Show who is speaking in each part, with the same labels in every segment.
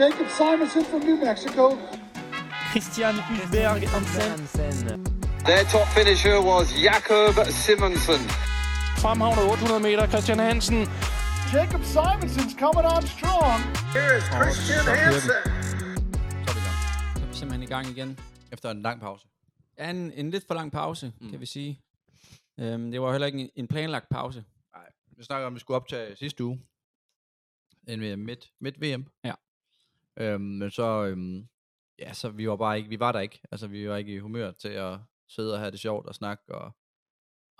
Speaker 1: Jacob Simonson from New Mexico.
Speaker 2: Christian Hulberg Hansen.
Speaker 3: Their top finisher was Jakob Simonsen.
Speaker 2: Fremhavner 800 meter, Christian Hansen.
Speaker 1: Jacob Simonson's coming on strong.
Speaker 3: Here is Christian Hansen.
Speaker 4: Så er vi i gang.
Speaker 5: Så er vi simpelthen i gang igen.
Speaker 4: Efter en lang pause.
Speaker 5: Ja, en, en lidt for lang pause, mm. kan vi sige. Øhm, det var heller ikke en, en planlagt pause.
Speaker 4: Vi snakker om, at vi skulle optage sidste uge. En øh, midt, midt VM.
Speaker 5: Ja.
Speaker 4: Øhm, men så, øhm, ja, så vi var bare ikke, vi var der ikke. Altså, vi var ikke i humør til at sidde og have det sjovt og snakke. Og,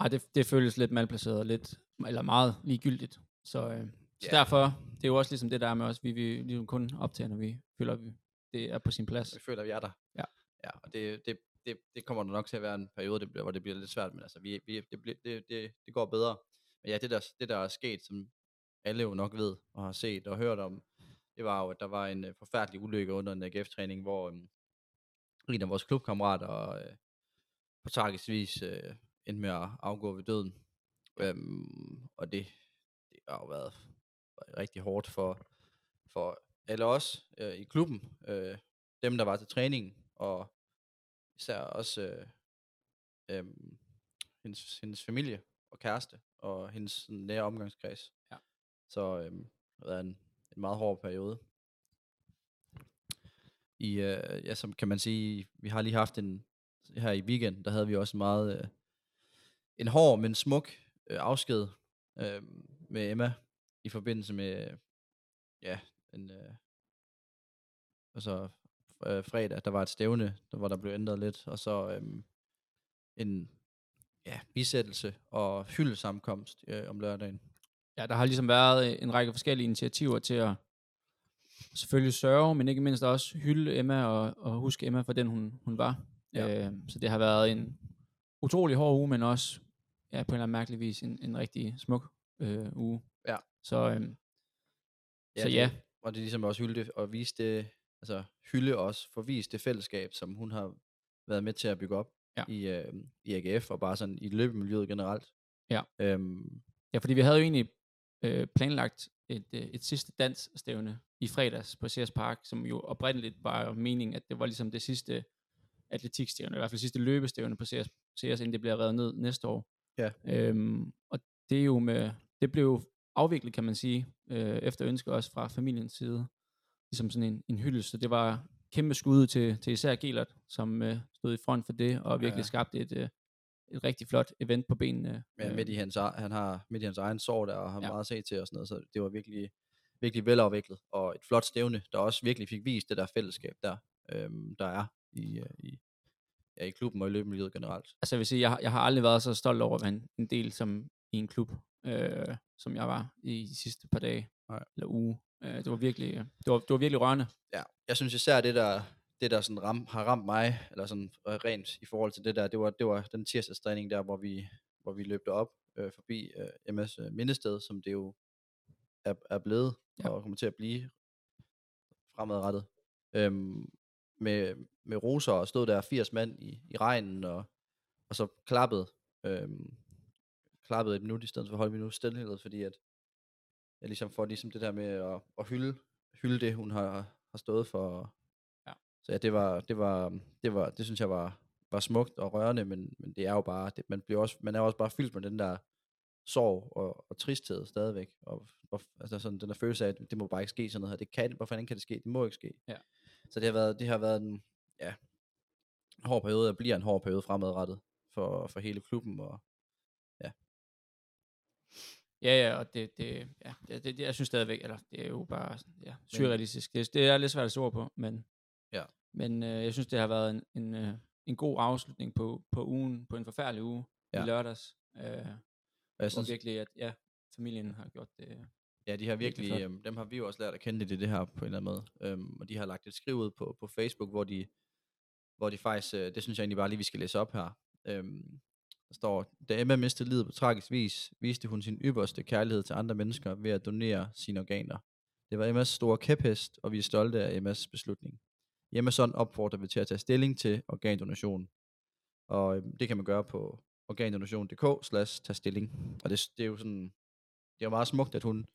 Speaker 5: Ej, det, det føles lidt malplaceret, og lidt, eller meget ligegyldigt. Så, øh, så
Speaker 4: Ja.
Speaker 5: derfor, det er jo også ligesom det der er med os, vi, vi ligesom kun optager, når vi føler, vi, det er på sin plads.
Speaker 4: vi føler, at vi er der.
Speaker 5: Ja.
Speaker 4: Ja, og det, det, det, det kommer der nok til at være en periode, det bliver, hvor det bliver lidt svært, men altså, vi, vi, det, bliver- det, det, det går bedre. Men ja, det der, det der er sket, som alle jo nok ved og har set og hørt om, det var jo, at der var en øh, forfærdelig ulykke under en AGF-træning, hvor øhm, en af vores klubkammerater øh, på tragisk vis øh, endte med at afgå ved døden. Øhm, og det, det har jo været rigtig hårdt for, for alle os øh, i klubben, øh, dem, der var til træningen, og især også øh, øh, hendes, hendes familie og kæreste, og hendes sådan nære omgangskreds.
Speaker 5: Ja.
Speaker 4: Så øh, det har været en, en meget hård periode. I, øh, ja, som kan man sige, vi har lige haft en, her i weekenden, der havde vi også en meget, øh, en hård, men smuk øh, afsked øh, med Emma, i forbindelse med, øh, ja, en, øh, altså øh, fredag, der var et stævne, der, hvor der blev ændret lidt, og så øhm, en ja, bisættelse og hyldesamkomst øh, om lørdagen.
Speaker 5: Ja, der har ligesom været øh, en række forskellige initiativer til at selvfølgelig sørge, men ikke mindst også hylde Emma og, og huske Emma for den, hun, hun var.
Speaker 4: Ja.
Speaker 5: Øh, så det har været en utrolig hård uge, men også ja, på en eller anden mærkelig vis en, en rigtig smuk øh, uge.
Speaker 4: Ja.
Speaker 5: Så, øh, så
Speaker 4: det-
Speaker 5: ja,
Speaker 4: Og det er ligesom også hylde og vise det, altså hylde os, for vise det fællesskab, som hun har været med til at bygge op
Speaker 5: Ja.
Speaker 4: i, øh, i AGF, og bare sådan i løbemiljøet generelt.
Speaker 5: Ja.
Speaker 4: Øhm,
Speaker 5: ja, fordi vi havde jo egentlig øh, planlagt et, øh, et sidste dansstævne i fredags på Sears Park, som jo oprindeligt var meningen, at det var ligesom det sidste atletikstævne, i hvert fald sidste løbestævne på CS, CS inden det bliver revet ned næste år.
Speaker 4: Ja.
Speaker 5: Øhm, og det er jo med, det blev jo afviklet, kan man sige, øh, efter ønske også fra familiens side, ligesom sådan en, en hyldest, og det var kæmpe skud til, til især Gelert, som øh, stod i front for det, og virkelig
Speaker 4: Ja.
Speaker 5: ja. skabte et, øh, et rigtig flot event på benene.
Speaker 4: ja, midt i hans, e- han har midt i hans egen sorg der, og har ja.
Speaker 5: Ja.
Speaker 4: meget at se til og sådan noget, så det var virkelig, virkelig velafviklet, og et flot stævne, der også virkelig fik vist det der fællesskab der, øhm, der er i, øh, i, ja, i klubben og i løbemiljøet generelt.
Speaker 5: altså jeg vil sige, jeg, har- jeg har aldrig været så stolt over at være en, en del som i en klub, øh, som jeg var i de sidste par dage
Speaker 4: Nej.
Speaker 5: eller uge. Øh, det var virkelig, øh, det var, det var virkelig rørende.
Speaker 4: Ja, jeg synes især det der, det der sådan ram, har ramt mig, eller sådan øh, rent i forhold til det der, det var, det var den tirsdagstræning der, hvor vi, hvor vi løb op øh, forbi øh, MS øh, Mindested, som det jo er, er blevet, ja.
Speaker 5: Ja.
Speaker 4: og kommer til at blive fremadrettet. Øhm, med, med roser og stod der 80 mand i, i regnen, og, og så klappede, øhm, klappede et minut i stedet for at holde et minut stillhed, fordi at jeg ligesom får ligesom det der med at, at hylde, hylde det, hun har, har stået for.
Speaker 5: Ja.
Speaker 4: Så ja, det var, det var, det var, det synes jeg var, var smukt og rørende, men, men det er jo bare, det, man, bliver også, man er også bare fyldt med den der sorg og, og tristhed stadigvæk. Og, og, altså sådan den der følelse af, at det må bare ikke ske sådan noget her. Det kan, hvor fanden kan det ske? Det må ikke ske.
Speaker 5: Ja.
Speaker 4: Så det har været, det har været en, ja, en hård periode, og bliver en hård periode fremadrettet for, for hele klubben. Og,
Speaker 5: Ja, ja, og det, det, ja, det, det, det jeg synes stadigvæk, eller det er jo bare sådan, ja, surrealistisk. Det, det er lidt svært at sætte ord på, men,
Speaker 4: Ja.
Speaker 5: men øh, jeg synes, det har været en, en, øh, en god afslutning på, på ugen, på en forfærdelig uge
Speaker 4: Ja.
Speaker 5: i lørdags. Øh, jeg
Speaker 4: og jeg
Speaker 5: synes
Speaker 4: synes,
Speaker 5: virkelig, at ja, familien har gjort det. øh,
Speaker 4: Ja, de har
Speaker 5: Virkelig
Speaker 4: virkelig,
Speaker 5: flot.
Speaker 4: øhm, dem har vi jo også lært at kende lidt i det her på en eller anden måde. Øhm, og de har lagt et skriv ud på, på Facebook, hvor de, hvor de faktisk, øh, det synes jeg egentlig bare lige, vi skal læse op her. Øhm, der står, da Emma mistede livet på tragisk vis, viste hun sin ypperste kærlighed til andre mennesker ved at donere sine organer. Det var Emmas store kæphest, og vi er stolte af Emmas beslutning. I Emmas ånd opfordrer vi til at tage stilling til organdonation. Og øhm, det kan man gøre på organdonation.dk slash tage stilling. Og det, det er jo sådan, det er jo meget smukt, at hun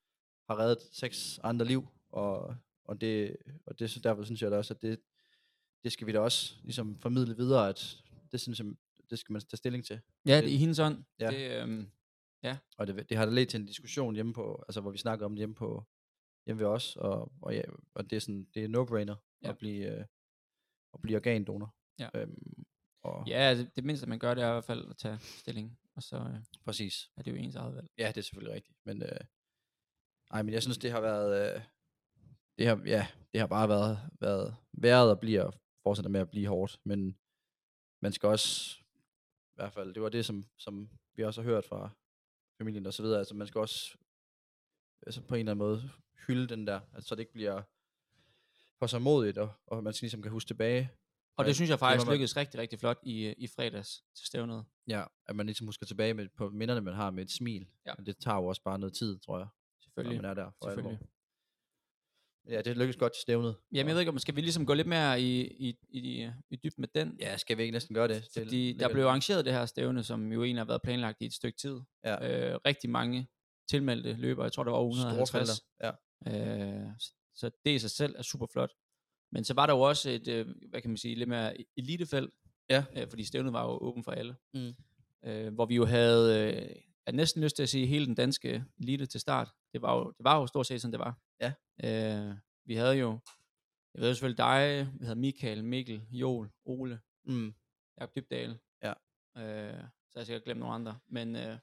Speaker 4: har reddet seks andre liv, og, og det, og det så derfor synes jeg da også, at det, det skal vi da også ligesom formidle videre, at det synes jeg, det skal man tage stilling til.
Speaker 5: Ja, det er i hendes ånd.
Speaker 4: Ja.
Speaker 5: Det, øhm,
Speaker 4: Og det, det har da ledt til en diskussion hjemme på, altså hvor vi snakker om det hjemme på, hjemme ved os, og, og, ja, og det er sådan, det er no-brainer
Speaker 5: Ja.
Speaker 4: at blive, øh, at blive organdonor.
Speaker 5: Ja.
Speaker 4: Øhm, og
Speaker 5: ja, altså, det mindste, man gør, det er i hvert fald at tage stilling. Og så øh,
Speaker 4: præcis.
Speaker 5: er det jo ens eget valg.
Speaker 4: Ja, det er selvfølgelig rigtigt. Men, øh, ej, men jeg synes, det har været... Øh, det har, ja, det har bare været, været været og bliver og fortsætter med at blive hårdt. Men man skal også... I hvert fald, det var det, som, som vi også har hørt fra familien og så videre. Altså, man skal også altså, på en eller anden måde hylde den der, altså, så det ikke bliver for så modigt, og, og man skal ligesom kan huske tilbage.
Speaker 5: Og Øh, det
Speaker 4: Ja,
Speaker 5: synes jeg
Speaker 4: det må
Speaker 5: faktisk
Speaker 4: man-
Speaker 5: lykkedes rigtig, rigtig flot i, øh, i fredags til stævnet.
Speaker 4: Ja, at man ligesom husker tilbage med, på minderne, man har med et smil.
Speaker 5: Ja.
Speaker 4: Men det tager jo også bare noget tid, tror jeg, når
Speaker 5: Selvfølgelig.
Speaker 4: man er der. For alvor.
Speaker 5: Selvfølgelig.
Speaker 4: Ja, det lykkedes godt til stævnet.
Speaker 5: Jamen, jeg ved ikke, om skal vi ligesom gå lidt mere i, i, i, i dybden med den?
Speaker 4: Ja, skal vi ikke næsten gøre det? det
Speaker 5: Fordi der
Speaker 4: ligger-
Speaker 5: blev arrangeret det her stævne, som jo egentlig har været planlagt i et stykke tid.
Speaker 4: Ja.
Speaker 5: Øh, rigtig mange tilmeldte løbere. Jeg tror, der var over
Speaker 4: store
Speaker 5: 150.
Speaker 4: felter. Ja,
Speaker 5: Øh, s- så det i sig selv er super flot. Men så var der jo også et, øh, hvad kan man sige, lidt mere e-, elitefelt.
Speaker 4: Ja.
Speaker 5: Øh, fordi stævnet var jo åben for alle.
Speaker 4: Mm.
Speaker 5: Øh, hvor vi jo havde, øh, jeg har næsten lyst til at sige, hele den danske elite til start. Det var jo, det var jo stort set, som det var.
Speaker 4: Ja.
Speaker 5: Øh, vi havde jo, jeg ved jo selvfølgelig dig, vi havde Michael, Mikkel, Joel, Ole,
Speaker 4: mm.
Speaker 5: Jakob Dybdal.
Speaker 4: Ja.
Speaker 5: Øh, så har jeg sikkert glemt nogle andre. Men, øh,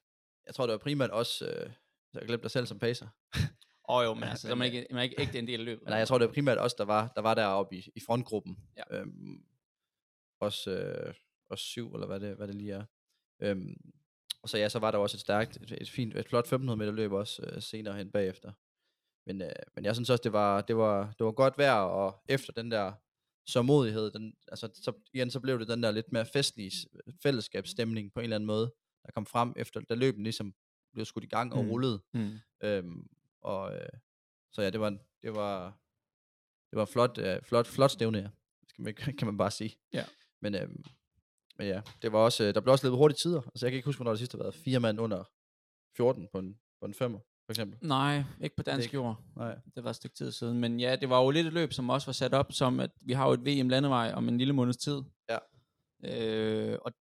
Speaker 4: Jeg tror, det var primært også... Øh, så jeg glemte dig selv som pacer.
Speaker 5: åh jo, men
Speaker 4: Ja,
Speaker 5: altså, så
Speaker 4: men,
Speaker 5: er man ikke, man er ikke ægte en del af løbet.
Speaker 4: Men nej, jeg tror, det var primært også, der var, der var deroppe i, i frontgruppen.
Speaker 5: Ja.
Speaker 4: Øhm, også, øh, også syv, eller hvad det, hvad det lige er. Øhm, og så ja, så var der også et stærkt, et, et fint, et flot 1500 meter løb også øh, senere hen bagefter. Men, øh, men jeg synes også, det var, det var, det var godt vejr, og efter den der sårmodighed, den, altså, så, igen, så blev det den der lidt mere festlige s- fællesskabsstemning på en eller anden måde, der kom frem efter, da løben ligesom blev skudt i gang og
Speaker 5: Mm.
Speaker 4: rullede.
Speaker 5: Mm.
Speaker 4: Øhm, og øh, så ja, det var det var det var flot øh, flot flot stævne ja. Skal man, ikke- kan man bare sige.
Speaker 5: Ja.
Speaker 4: Men, øhm, men ja, det var også øh, der blev også løbet hurtige tider. Altså jeg kan ikke huske hvornår det sidste har været fire mand under 14 på en på en femmer for eksempel.
Speaker 5: Nej, ikke på dansk
Speaker 4: ikke-
Speaker 5: jord.
Speaker 4: Nej.
Speaker 5: Det var et stykke tid siden. Men ja, det var jo lidt et løb, som også var sat op som, at vi har jo et VM landevej om en lille måneds tid.
Speaker 4: Ja.
Speaker 5: Øh, og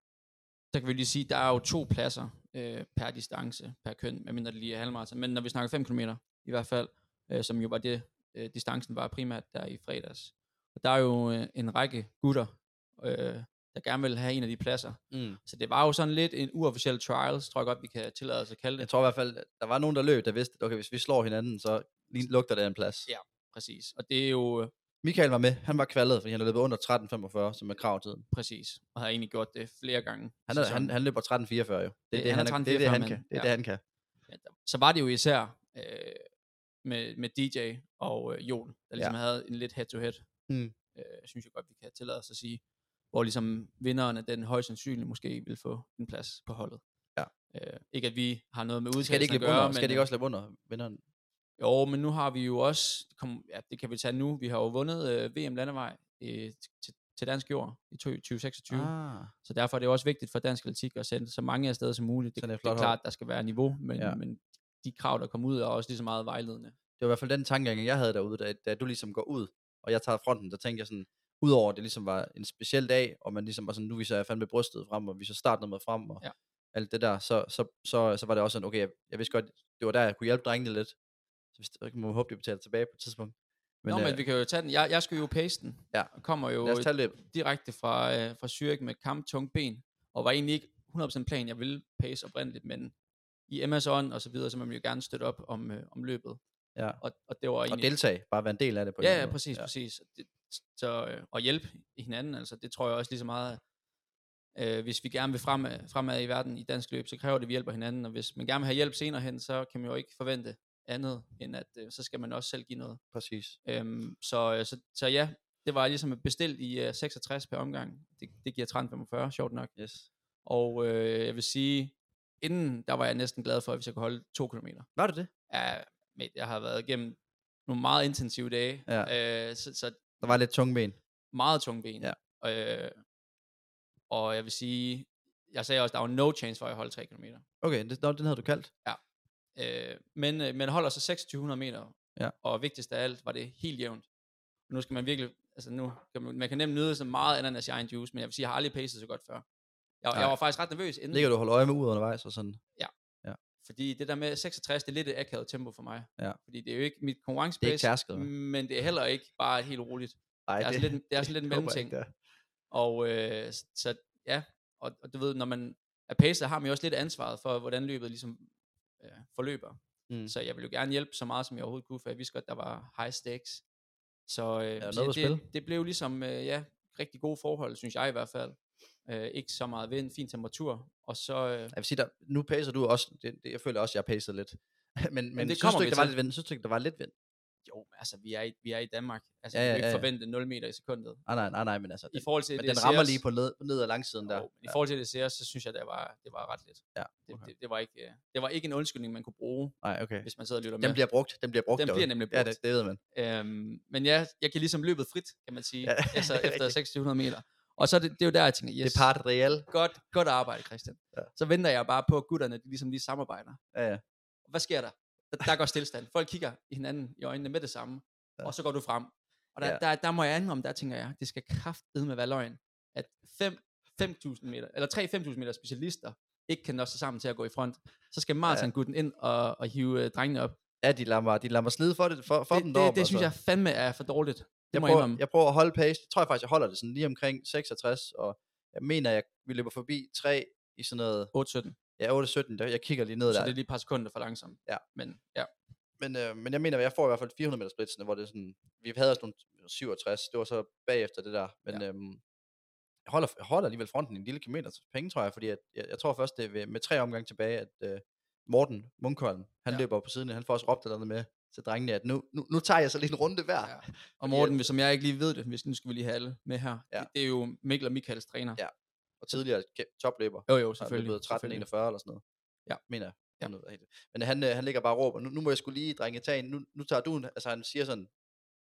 Speaker 5: der kan vi lige sige, der er jo to pladser øh, per distance, per køn, medmindre det lige er halvmarathon. Men når vi snakker 5 km i hvert fald, øh, som jo var det, øh, distancen var primært der i fredags. Og der er jo øh, en række gutter, øh, der gerne vil have en af de pladser.
Speaker 4: Mm.
Speaker 5: Så det var jo sådan lidt en uofficiel trials, tror jeg godt, vi kan tillade os at kalde
Speaker 4: Jeg
Speaker 5: det.
Speaker 4: tror i hvert fald der var nogen der løb, der vidste, okay, hvis vi slår hinanden, så lige lugter det af en plads.
Speaker 5: Ja. Præcis. Og det er jo... Øh,
Speaker 4: Michael var med. Han var kvalet, fordi han løb under 13.45, som er kravtiden.
Speaker 5: Præcis. Og har egentlig gjort det flere gange. i
Speaker 4: Han, er,
Speaker 5: sæsonen.
Speaker 4: han, han løber 13.44 jo. Det er
Speaker 5: Ja,
Speaker 4: det, det,
Speaker 5: han er
Speaker 4: han, er, det, er det,
Speaker 5: 13.44
Speaker 4: han
Speaker 5: mand.
Speaker 4: kan. Det er
Speaker 5: Ja.
Speaker 4: det, han kan.
Speaker 5: Ja, der- Så var det jo især øh, med, med DJ og øh, Jon, der ligesom ja. havde en lidt head-to-head,
Speaker 4: Mm.
Speaker 5: øh, synes jeg godt, vi kan tillade os at sige, hvor ligesom vinderen af den højst sandsynligt måske vil få en plads på holdet.
Speaker 4: Ja.
Speaker 5: Øh, ikke at vi har noget med
Speaker 4: Skal det
Speaker 5: udtalelsen
Speaker 4: ikke
Speaker 5: at
Speaker 4: løbe
Speaker 5: gøre,
Speaker 4: under?
Speaker 5: men,
Speaker 4: Skal det
Speaker 5: øh,
Speaker 4: ikke også løbe under vinderen?
Speaker 5: Jo, men nu har vi jo også, kom, ja, det kan vi tage nu, vi har jo vundet øh, VM Landevej øh, til, til dansk jord i 2026.
Speaker 4: Ah.
Speaker 5: Så derfor er det jo også vigtigt for dansk atletik at sende så mange afsted som muligt. Det,
Speaker 4: Så det
Speaker 5: det
Speaker 4: er
Speaker 5: er,
Speaker 4: et flot
Speaker 5: det er
Speaker 4: hold.
Speaker 5: klart, der skal være niveau, men,
Speaker 4: Ja.
Speaker 5: ja. men de krav, der kommer ud, er også lige så meget vejledende.
Speaker 4: det var i hvert fald den tankegang, jeg havde derude, da, da du ligesom går ud, og jeg tager fronten, der tænker jeg sådan, udover at det ligesom var en speciel dag, og man ligesom var sådan, nu viser jeg fandme brystet frem, og vi så starter med frem, og
Speaker 5: Ja.
Speaker 4: ja. alt det der, så, så, så, så var det også sådan, okay, jeg, jeg vidste godt, det var der, jeg kunne hjælpe drengene lidt, så hvis, så kan man håbe, de betaler tilbage på et tidspunkt.
Speaker 5: Men, Nå, men vi kan jo tage den. Jeg, jeg skal jo pace den.
Speaker 4: øh, Ja.
Speaker 5: Og kommer jo
Speaker 4: lad os tage løbet.
Speaker 5: direkte fra, øh, fra Zürich med kamp, tung ben, og var egentlig ikke 100% plan, jeg ville pace oprindeligt, men i Emmas ånd og så videre, så må man jo gerne støtte op om, øh, om løbet.
Speaker 4: Ja.
Speaker 5: Og, og det var
Speaker 4: Og
Speaker 5: egentlig...
Speaker 4: deltage, bare være en del af det på en eller
Speaker 5: Ja, ja,
Speaker 4: anden måde.
Speaker 5: præcis, ja. præcis. Det, så, øh, og hjælpe hinanden, altså det tror jeg også lige så meget, øh, hvis vi gerne vil fremad, fremad i verden i dansk løb, så kræver det, at vi hjælper hinanden, og hvis man gerne vil have hjælp senere hen, så kan man jo ikke forvente andet, end at øh, så skal man også selv give noget.
Speaker 4: præcis.
Speaker 5: Øhm, så, øh, så, så ja, det var ligesom bestilt i øh, 66 per omgang. Det, det giver 13,45, sjovt nok.
Speaker 4: Yes.
Speaker 5: Og øh, jeg vil sige, inden der var jeg næsten glad for, hvis jeg kunne holde to kilometer
Speaker 4: Var det det?
Speaker 5: ja, mate, jeg har været igennem nogle meget intensive dage, ja. øh, så, så
Speaker 4: Der var lidt tungben.
Speaker 5: meget tunge ben.
Speaker 4: Ja.
Speaker 5: Øh, og jeg vil sige, jeg sagde også, der var no chance for, at jeg holdt 3 km.
Speaker 4: Okay, det, nå, den havde du kaldt.
Speaker 5: Øh, men øh, man holder så 2600 meter,
Speaker 4: Ja.
Speaker 5: og vigtigst af alt var det helt jævnt. Nu skal man virkelig, altså nu, kan man, man kan nemt nyde så meget ananas i egen juice, men jeg vil sige, jeg har aldrig pacet så godt før. Jeg, jeg
Speaker 4: Nej.
Speaker 5: var faktisk ret nervøs inden,
Speaker 4: Ligger du og holder øje med uret undervejs og sådan?
Speaker 5: fordi det der med 66, det er lidt et akavet tempo for mig.
Speaker 4: Ja.
Speaker 5: Fordi det er jo ikke mit
Speaker 4: Det er ikke
Speaker 5: konkurrencepace,
Speaker 4: tærsket. hva'?
Speaker 5: men det er heller ikke bare helt roligt.
Speaker 4: Nej,
Speaker 5: det er sådan Mm, altså lidt, det er sådan lidt en
Speaker 4: håber jeg ikke,
Speaker 5: mellemting.
Speaker 4: det er.
Speaker 5: Og øh, s- så ja, og, og du ved, når man er pacer, har man jo også lidt ansvaret for, hvordan løbet ligesom øh, forløber.
Speaker 4: Mm.
Speaker 5: Mm. Så jeg ville jo gerne hjælpe så meget, som jeg overhovedet kunne, for jeg vidste godt, der var high stakes. Så, øh,
Speaker 4: der
Speaker 5: så
Speaker 4: noget på
Speaker 5: det,
Speaker 4: spil?
Speaker 5: det blev ligesom, øh, ja, rigtig gode forhold, synes jeg i hvert fald. Øh, ikke så meget vind, fin temperatur, og så... Øh,
Speaker 4: Jeg vil sige, der, nu pacer du også, det, det, jeg føler også, jeg har pacet lidt. men, men,
Speaker 5: det
Speaker 4: men det synes
Speaker 5: kommer
Speaker 4: du
Speaker 5: vi
Speaker 4: ikke, der var
Speaker 5: til.
Speaker 4: lidt vind? Synes du ikke, der var lidt vind?
Speaker 5: jo, altså, vi er i, vi er i Danmark. Altså,
Speaker 4: Ja,
Speaker 5: ja, ja,
Speaker 4: ja,
Speaker 5: vi kan jo
Speaker 4: ja,
Speaker 5: ikke
Speaker 4: ja.
Speaker 5: forvente 0 meter i sekundet.
Speaker 4: Nej, nej, nej, nej, men altså,
Speaker 5: I
Speaker 4: den,
Speaker 5: forhold til
Speaker 4: men
Speaker 5: det,
Speaker 4: den rammer
Speaker 5: Sears-
Speaker 4: lige på ned, ned ad langsiden der.
Speaker 5: Jo, men I forhold til det ser, så synes jeg, det var, det var ret lidt.
Speaker 4: Ja,
Speaker 5: det,
Speaker 4: okay.
Speaker 5: det, det, var ikke, øh, det var ikke en undskyldning, man kunne bruge,
Speaker 4: Nej, okay.
Speaker 5: hvis man sidder og lytter
Speaker 4: Den
Speaker 5: med.
Speaker 4: bliver brugt, den bliver brugt
Speaker 5: Den bliver
Speaker 4: derude.
Speaker 5: nemlig
Speaker 4: Ja,
Speaker 5: brugt.
Speaker 4: det, det ved man.
Speaker 5: Øhm, men ja, jeg kan ligesom løbet frit, kan man sige,
Speaker 4: Ja,
Speaker 5: ja,
Speaker 4: det er
Speaker 5: altså efter
Speaker 4: rigtigt.
Speaker 5: 1600 meter. Og så er det, det er jo der, jeg tænker, yes,
Speaker 4: Det er part real.
Speaker 5: godt, godt arbejde, Christian. Ja.
Speaker 4: Ja.
Speaker 5: Så venter jeg bare på, at gutterne de ligesom lige samarbejder.
Speaker 4: Ja, ja.
Speaker 5: Hvad sker der? Der, der går stillestand. Folk kigger hinanden i øjnene med det samme, ja.
Speaker 4: Ja.
Speaker 5: og så går du frem. Og der, ja.
Speaker 4: Ja.
Speaker 5: der, der må jeg anholde, der tænker jeg, det skal kraftedme være løgn, at fem- 5.000 meter, eller 3-5.000 meter specialister, ikke kan nå sig sammen til at gå i front. Så skal Martin-gutten ind og, og hive øh, drengene op.
Speaker 4: Ja, de lader mig, de lader mig slide for det, for, for
Speaker 5: det,
Speaker 4: den
Speaker 5: det,
Speaker 4: deroppe,
Speaker 5: det, det synes
Speaker 4: altså.
Speaker 5: jeg fandme er for dårligt. Det
Speaker 4: jeg
Speaker 5: må jeg
Speaker 4: prøver,
Speaker 5: indrømme.
Speaker 4: jeg prøver at holde pace. Jeg tror jeg faktisk, jeg holder det sådan lige omkring 66, og jeg mener, jeg, vi løber forbi 3 i sådan noget,
Speaker 5: 8-17.
Speaker 4: ja, 8-17, der, jeg kigger lige ned
Speaker 5: Så
Speaker 4: der.
Speaker 5: det er lige et par sekunder for langsomt.
Speaker 4: Ja.
Speaker 5: Men ja,
Speaker 4: Men, øh, men jeg mener, jeg får i hvert fald 400 meter splitsene, hvor det er sådan, vi havde også nogle 67, det var så bagefter det der, men ja. øhm, jeg, holder, jeg holder alligevel fronten en lille kilometer til penge, tror jeg, fordi at, jeg, jeg tror først, det er ved, med tre omgange tilbage, at øh, Morten Munkholm, han
Speaker 5: Ja.
Speaker 4: ja. løber på siden, han får også råbt eller andet med til drengene, at nu, nu, nu tager jeg så lige en runde hver.
Speaker 5: Ja.
Speaker 4: Ja.
Speaker 5: og Morten, hvis som jeg ikke lige ved det, hvis nu skal vi lige have alle med her.
Speaker 4: Ja.
Speaker 5: Det, det er jo Mikkel og Michaels træner.
Speaker 4: Ja, og tidligere kæ- topløber,
Speaker 5: Jo, jo,
Speaker 4: selvfølgelig.
Speaker 5: selvfølgelig.
Speaker 4: Løbet 13
Speaker 5: selvfølgelig.
Speaker 4: 41 eller sådan noget.
Speaker 5: Ja.
Speaker 4: Mener jeg.
Speaker 5: Ja.
Speaker 4: Ja. Men han, øh, han ligger bare og råber, nu, nu må jeg skulle lige, drenge, tage en, nu, nu tager du en, altså han siger sådan,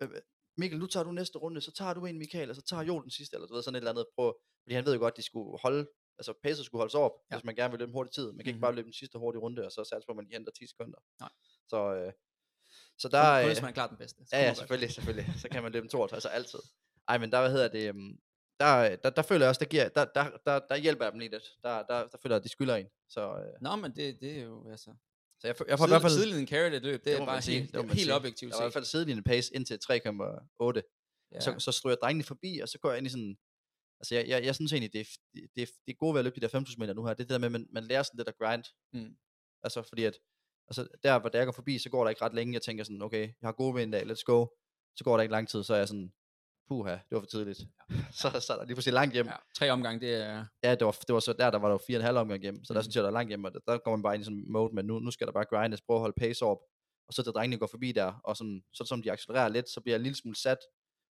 Speaker 4: "Øh, øh, Mikkel, nu tager du næste runde, så tager du en, Michael, og så tager Joel den sidste, eller du ved, sådan et eller andet, prøv, fordi han ved jo godt, de skulle holde, altså pacet skulle holdes op,
Speaker 5: Ja.
Speaker 4: ja. hvis man gerne vil løbe en hurtig tid, man kan mm-hmm.
Speaker 5: Mhm.
Speaker 4: ikke bare løbe den sidste hurtige runde, og så satse på, at man lige henter 10 sekunder.
Speaker 5: Nej.
Speaker 4: Så, øh, så
Speaker 5: Der
Speaker 4: der,
Speaker 5: er,
Speaker 4: øh,
Speaker 5: hvis man er klart den bedste. så
Speaker 4: Ja,
Speaker 5: kan
Speaker 4: ja,
Speaker 5: man godt.
Speaker 4: selvfølgelig, selvfølgelig. Så kan man løbe en 52, altså altid. Ej, men der, hvad hedder det, øhm, der, der, der føler jeg også, der, giver, der, der, der, der hjælper jeg dem lige lidt. Der, der, der føler jeg, at de skylder en. Så, øh,
Speaker 5: Nå, men det, det er jo, altså...
Speaker 4: så jeg, fø- jeg får i hvert
Speaker 5: Siden,
Speaker 4: fald...
Speaker 5: sidelinjen carried et løb, det,
Speaker 4: må
Speaker 5: er
Speaker 4: man
Speaker 5: bare
Speaker 4: sige,
Speaker 5: helt,
Speaker 4: det må
Speaker 5: det er
Speaker 4: man
Speaker 5: helt
Speaker 4: sige.
Speaker 5: objektivt
Speaker 4: Jeg var i hvert
Speaker 5: set.
Speaker 4: fald sidelinjen pace indtil 3,8.
Speaker 5: Ja.
Speaker 4: Så, så stod jeg drengene forbi, og så går jeg ind i sådan... Altså, jeg, jeg, jeg synes egentlig, det er, f- det, det, det er gode ved at løbe de der 5.000 meter nu her. Det er det der med, at man, man lærer sådan det der grind.
Speaker 5: Mm.
Speaker 4: Altså, fordi at... Altså, der, hvor der jeg går forbi, så går der ikke ret længe. Jeg tænker sådan, okay, jeg har gode ved en dag, let's go. Så går der ikke lang tid, så er jeg sådan, puha, det var for tidligt. så, så er der lige pludselig langt hjem.
Speaker 5: Ja, tre omgange, det er...
Speaker 4: Ja, det var, det var så der, der var der jo fire og en halv omgang hjem, så der
Speaker 5: Mhm.
Speaker 4: synes jeg, der er langt hjem, og der, der går man bare ind i sådan en mode, men nu, nu skal der bare grindes, prøve at holde pace op, og så da drengene går forbi der, og sådan, så som de accelererer lidt, så bliver jeg en lille smule sat,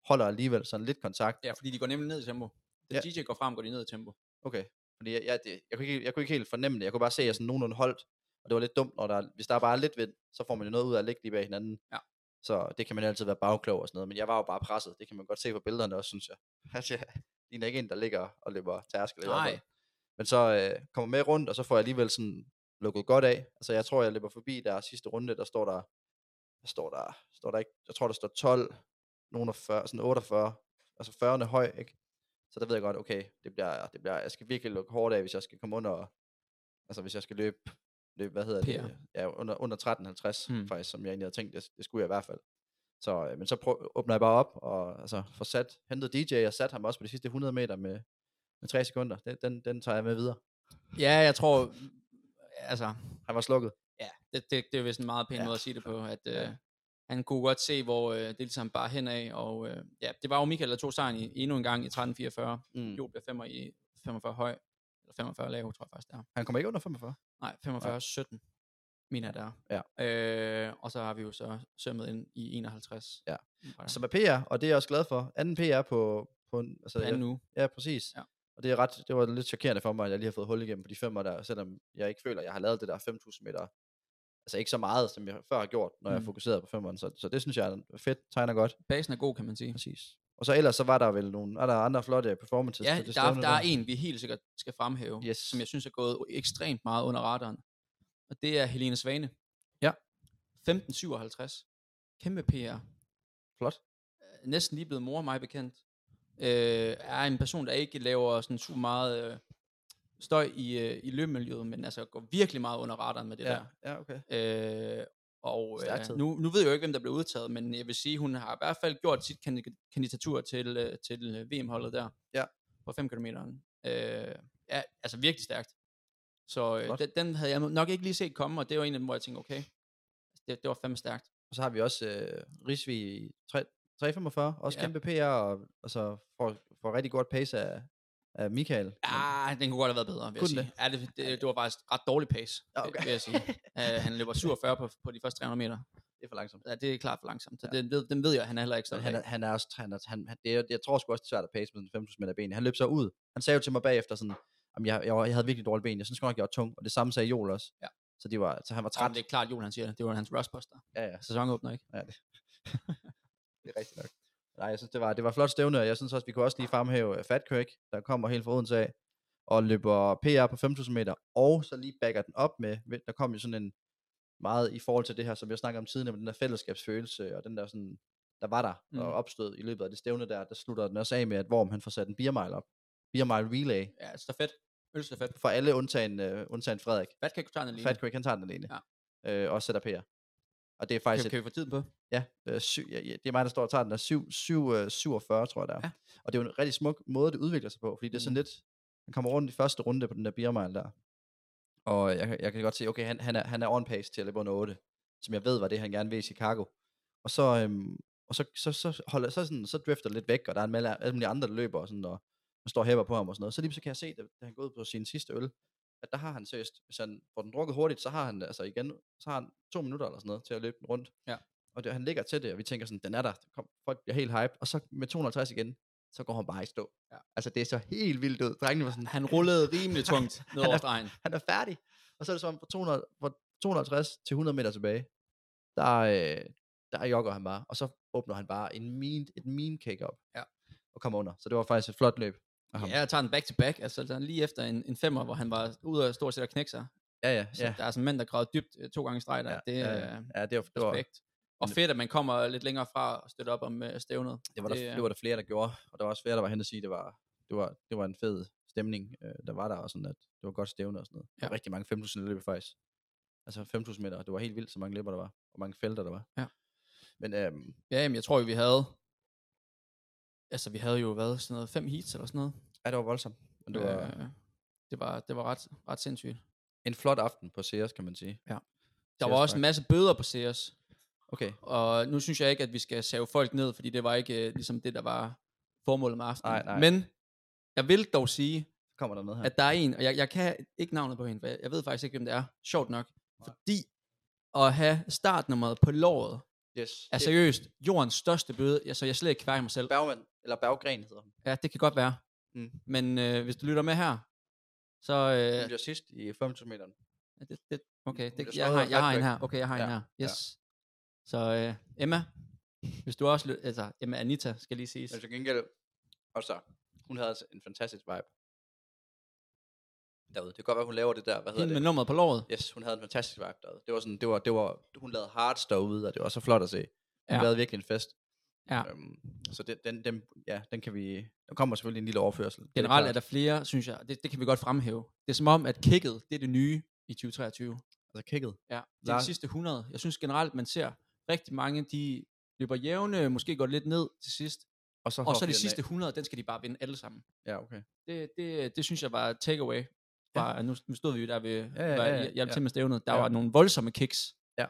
Speaker 4: holder alligevel sådan lidt kontakt.
Speaker 5: Ja, fordi de går nemlig ned i tempo. Da
Speaker 4: Ja.
Speaker 5: DJ går frem, går de ned i tempo.
Speaker 4: Okay. Fordi jeg, jeg, det, jeg, kunne ikke, jeg kunne ikke helt fornemme det, jeg kunne bare se, at jeg sådan nogenlunde holdt, og det var lidt dumt, når der, hvis der bare er lidt vind, så får man jo noget ud af at ligge lige bag hinanden.
Speaker 5: Ja.
Speaker 4: Så det kan man altid være bagklog og sådan noget, men jeg var jo bare presset, det kan man godt se på billederne også, synes jeg. Altså, jeg ligner ikke en, der ligger og løber tærskel. i hvert fald.
Speaker 5: Nej,
Speaker 4: Men så øh, kommer med rundt, og så får jeg alligevel sådan lukket godt af. Altså jeg tror, jeg løber forbi der sidste runde, der står der, der står der, står der ikke, jeg tror, der står 12, nogen og 40, sådan 48, altså 40'erne høj, ikke? Så der ved jeg godt, okay, det bliver, det bliver, jeg skal virkelig lukke hårdt af, hvis jeg skal komme under, altså hvis jeg skal løbe, løbe hvad hedder
Speaker 5: PR.
Speaker 4: det? Ja, under, under 13.50
Speaker 5: Hmm.
Speaker 4: hmm. faktisk, som jeg egentlig havde tænkt, det, det skulle jeg i hvert fald. Så, øh, men så prøv, åbner jeg bare op, og altså, får sat, hentet DJ, og sat ham også på de sidste 100 meter med, med 3 sekunder. Den, den, den tager jeg med videre.
Speaker 5: ja, jeg tror... Altså,
Speaker 4: Han var slukket.
Speaker 5: Ja, det, det, det er vist en meget pæn ja.
Speaker 4: Ja.
Speaker 5: måde at sige det på, at øh,
Speaker 4: Ja.
Speaker 5: han kunne godt se, hvor øh, det ligesom bare henad, og øh, ja, det var jo Michael, der tog sejren i, endnu en gang i 1344. Mm.
Speaker 4: Mm.
Speaker 5: Jo, blev femmer i 45 høj, eller 45 lav, tror jeg faktisk, der.
Speaker 4: Han kommer ikke under 45.
Speaker 5: Nej, 45 ja. 17, mener jeg, der.
Speaker 4: Ja.
Speaker 5: Øh, og så har vi jo så sømmet ind i 51.
Speaker 4: Ja.
Speaker 5: Fra
Speaker 4: Som er PR, og det er jeg også glad for. Anden PR på... på en- altså,
Speaker 5: anden
Speaker 4: jeg,
Speaker 5: uge.
Speaker 4: ja, præcis.
Speaker 5: Ja.
Speaker 4: Ja. Og det, er ret, det var lidt chokerende for mig, at jeg lige har fået hul igennem på de femmer der, selvom jeg ikke føler, at jeg har lavet det der 5.000 meter. Altså ikke så meget, som jeg før har gjort, når mm. jeg
Speaker 5: Mm.
Speaker 4: fokuserede på femmeren. Så, så det synes jeg er fedt, tegner godt.
Speaker 5: Basen er god, kan man sige.
Speaker 4: Præcis. Og så ellers, så var der vel nogle er der andre flotte performances.
Speaker 5: Ja,
Speaker 4: på det
Speaker 5: der, er-
Speaker 4: stævne
Speaker 5: der er en, vi helt sikkert skal fremhæve,
Speaker 4: Yes.
Speaker 5: som jeg synes er gået ekstremt meget under radaren. Og det er Helene Svane.
Speaker 4: Ja.
Speaker 5: 1557. Kæmpe PR.
Speaker 4: Flot.
Speaker 5: næsten lige blevet mor, mig bekendt, øh, er en person, der ikke laver sådan super meget øh, støj i, øh, i løbemiljøet, men altså går virkelig meget under radaren med det der.
Speaker 4: ja, okay.
Speaker 5: Øh, og
Speaker 4: Stærk tid.
Speaker 5: øh, nu, nu ved jeg jo ikke, hvem der blev udtaget, men jeg vil sige, hun har i hvert fald gjort sit kandid- kandidatur til, øh, til øh, VM-holdet der.
Speaker 4: Ja.
Speaker 5: På 5 km. Øh, ja, altså virkelig stærkt. Så øh,
Speaker 4: Flot.
Speaker 5: den, den havde jeg nok ikke lige set komme, og det var en af dem, hvor jeg tænkte, okay, det, det var fandme stærkt.
Speaker 4: Og så har vi også øh, Risvig i tre- 345, også
Speaker 5: Ja.
Speaker 4: kæmpe PR, og, og så får, får rigtig godt pace af, af Michael. Men-
Speaker 5: Ah, den kunne godt have været bedre, vil jeg
Speaker 4: Kunne
Speaker 5: sige.
Speaker 4: den
Speaker 5: Ja, det, det, det var faktisk ret dårlig pace,
Speaker 4: Ja,
Speaker 5: okay.
Speaker 4: okay.
Speaker 5: vil jeg sige. Uh, han løber 47 på, på de første 300 meter.
Speaker 4: det er for langsomt.
Speaker 5: Ja, det er klart for langsomt. Så ja. den, ved, den ved jeg, han er heller ikke
Speaker 4: Så
Speaker 5: stolt
Speaker 4: han,
Speaker 5: af.
Speaker 4: er, han er også, han er, han, han, det er, jeg tror sgu også, det er svært at pace med den 5.000 meter ben. Han løb så ud. Han sagde jo til mig bagefter sådan, Jamen, jeg, jeg, var- jeg havde virkelig dårlige ben. Jeg synes godt nok, jeg var tung. Og det samme sagde Joel også.
Speaker 5: Ja.
Speaker 4: Så, de var, så han var
Speaker 5: Træt.
Speaker 4: træt.
Speaker 5: Det er klart, Joel han siger det. Det var hans rustbuster.
Speaker 4: Ja, ja.
Speaker 5: Sæsonen åbner ikke.
Speaker 4: Ja, det, det er rigtigt nok. Nej, jeg synes, det var, det var flot stævne, og jeg synes også, vi kunne også lige fremhæve øh, Fat Craig, der kommer helt fra Odense af, og løber PR på 5.000 meter, og så lige backer den op med, ved- der kom jo sådan en meget i forhold til det her, som jeg snakkede om tidligere, med den der fællesskabsfølelse, og den der sådan, der var der, mm. og
Speaker 5: Mm.
Speaker 4: opstod i løbet af det stævne der, der slutter den også af med, at Worm han får sat en beer mile op. Beer mile relay,
Speaker 5: Ja, stafet. Ølstafet.
Speaker 4: for alle undtagen, øh, undtagen Frederik.
Speaker 5: Hvad kan du tage den alene?
Speaker 4: Fat Craig, han tager den alene.
Speaker 5: Ja.
Speaker 4: Øh, og sætter PR. Og det er
Speaker 5: Kan,
Speaker 4: faktisk et-
Speaker 5: kan vi få tiden på?
Speaker 4: Ja, øh, syv, ja, ja, det er mig, der står og tager den der 7, 7, øh, 47, tror jeg der.
Speaker 5: Ja.
Speaker 4: Ja. Og det er jo en rigtig smuk måde, det udvikler sig på, fordi det er sådan
Speaker 5: Mm.
Speaker 4: lidt, han kommer rundt i første runde på den der biermejl der, og jeg, kan- jeg kan godt se, okay, han, han, er, han er on pace til at løbe under 8, som jeg ved var det, han gerne vil i Chicago. Og så, øhm, og så, så, så, holder, så, sådan, så drifter det lidt væk, og der er en masse alle mulige andre, der løber og sådan, og man står og hæpper på ham og sådan noget. Så lige så kan jeg se, da, da han går ud på sin sidste øl, at der har han seriøst, hvis han får den drukket hurtigt, så har han altså igen, så har han to minutter eller sådan noget til at løbe den rundt.
Speaker 5: Ja.
Speaker 4: Og det, han ligger til det, og vi tænker sådan, den er der, kom, folk bliver helt hype, og så med 250 igen, så går han bare i stå.
Speaker 5: Ja.
Speaker 4: Altså det er så helt vildt ud. Drengene var sådan,
Speaker 5: Han rullede rimelig tungt
Speaker 4: Han
Speaker 5: ned over
Speaker 4: er-
Speaker 5: stregen.
Speaker 4: han er færdig. Og så er det som om, fra 200, fra 250 til 100 meter tilbage, der, øh, der jogger han bare, og så åbner han bare en mean, et mean cake op,
Speaker 5: Ja.
Speaker 4: og kommer under. Så det var faktisk et flot løb. af ham.
Speaker 5: Ja, jeg tager den back to back. Altså den lige efter en, en femmer, hvor han var ude og stort set at knække sig.
Speaker 4: ja, ja.
Speaker 5: Så
Speaker 4: ja.
Speaker 5: der er sådan en mand, der gravede dybt øh, to gange i streg der. Ja, det
Speaker 4: ja,
Speaker 5: er øh,
Speaker 4: ja. ja, det var, det var,
Speaker 5: respekt. Og fedt, at man kommer lidt længere fra og støtter op om øh, stævnet.
Speaker 4: det var, der,
Speaker 5: er-
Speaker 4: det var der flere, der gjorde, og der var også flere, der var hen og sige, det var, det var, det var en fed stemning, øh, der var der, og sådan, at det var godt stævne og sådan noget. Der var
Speaker 5: Ja.
Speaker 4: rigtig mange 5.000 løb faktisk. Altså 5.000 meter, det var helt vildt, så mange løber der var, og mange felter der var.
Speaker 5: Ja.
Speaker 4: Men øhm,
Speaker 5: Ja, jamen, jeg tror jo, vi havde... Altså, vi havde jo været sådan noget fem heats eller sådan noget.
Speaker 4: ja, det var voldsomt. Men det var, øh,
Speaker 5: Øh, det var, det var ret, ret sindssygt.
Speaker 4: en flot aften på Sears, kan man sige.
Speaker 5: Der
Speaker 4: Sears
Speaker 5: var også
Speaker 4: Park.
Speaker 5: en masse bøder på Sears.
Speaker 4: Okay.
Speaker 5: Og nu synes jeg ikke, at vi skal save folk ned, fordi det var ikke øh, ligesom det, der var formålet med aftenen.
Speaker 4: Nej, nej.
Speaker 5: Men jeg vil dog sige,
Speaker 4: Så kommer der med her.
Speaker 5: at der er en, og jeg, jeg kan ikke navnet på hende, for jeg, jeg ved faktisk ikke, hvem det er. Sjovt nok. Fordi at have startnummeret på låret
Speaker 4: yes.
Speaker 5: er seriøst jordens største bøde. Jeg, så jeg slet ikke kværker mig selv.
Speaker 4: Bergman, eller Berggren hedder hun.
Speaker 5: Ja, det kan godt være.
Speaker 4: Mm.
Speaker 5: Men øh, hvis du lytter med her, så... Øh,
Speaker 4: Hun bliver sidst i 5.000 meter.
Speaker 5: Ja, det, det, okay,
Speaker 4: bliver
Speaker 5: det, jeg,
Speaker 4: skåret
Speaker 5: har,
Speaker 4: af
Speaker 5: jeg har en
Speaker 4: Fatback.
Speaker 5: her. Okay, jeg har en
Speaker 4: Ja,
Speaker 5: her.
Speaker 4: ja.
Speaker 5: Yes. Så øh, Emma, hvis du også... lø- Altså, Emma Anita skal lige siges.
Speaker 4: Men til gengæld, og så, hun havde altså en fantastisk vibe. Derude. Det kan godt være, hun laver det der, hvad hedder
Speaker 5: Hende
Speaker 4: det?
Speaker 5: med nummeret på låret.
Speaker 4: Yes, hun havde en fantastisk vibe derude. Det var sådan, det var, det var, hun lavede hearts derude, og det var så flot at se. Hun
Speaker 5: Ja.
Speaker 4: ja. lavede virkelig en fest.
Speaker 5: Ja.
Speaker 4: Øhm, så den, den, den, ja, den kan vi, der kommer selvfølgelig en lille overførsel. det
Speaker 5: Generelt er
Speaker 4: klart.
Speaker 5: der flere, synes jeg. Det, det kan vi godt fremhæve. Det er som om, at kicket, det er det nye i 2023.
Speaker 4: altså kigget.
Speaker 5: Ja, det er de
Speaker 4: Lars-
Speaker 5: sidste 100. Jeg synes generelt, man ser rigtig mange, de løber jævne, måske går lidt ned til sidst.
Speaker 4: Og så,
Speaker 5: Og
Speaker 4: hopper
Speaker 5: så
Speaker 4: vi
Speaker 5: de
Speaker 4: den
Speaker 5: sidste
Speaker 4: af.
Speaker 5: 100, den skal de bare vinde alle sammen.
Speaker 4: Ja, okay.
Speaker 5: Det, det, det synes jeg var et takeaway. Bare, nu, nu stod vi jo der ved, ja,
Speaker 4: ja,
Speaker 5: ja,
Speaker 4: ja,
Speaker 5: ja, hjalp
Speaker 4: ja.
Speaker 5: til med stævnet. Der
Speaker 4: Ja.
Speaker 5: var nogle voldsomme kicks.
Speaker 4: Ja.
Speaker 5: Øh,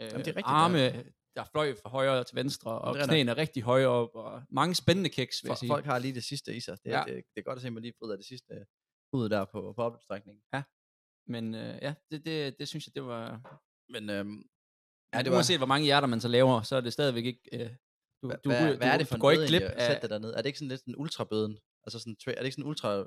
Speaker 4: Jamen, det er rigtigt,
Speaker 5: arme, der. der fløj fra højre til venstre, og
Speaker 4: det er
Speaker 5: knæene er rigtig høje op, og mange spændende kicks, vil jeg
Speaker 4: For,
Speaker 5: sige.
Speaker 4: folk har lige det sidste i sig. Det,
Speaker 5: Ja.
Speaker 4: ja. det, det er godt at se, at man lige bryder det sidste ud der på, på opstrækningen.
Speaker 5: Men øh, ja, det, det, det synes jeg, det var...
Speaker 4: Men øhm,
Speaker 5: Ja, det var... Uanset hvor mange hjerter man så laver, så er det stadigvæk ikke... Øh, du,
Speaker 4: Hva-
Speaker 5: du,
Speaker 4: hvad,
Speaker 5: du,
Speaker 4: hvad er det
Speaker 5: du
Speaker 4: for en
Speaker 5: går ikke
Speaker 4: bøde
Speaker 5: glip
Speaker 4: egentlig at
Speaker 5: af...
Speaker 4: sætte det dernede? Er det ikke sådan lidt en ultrabøden? Altså sådan, tra- er det ikke sådan en ultra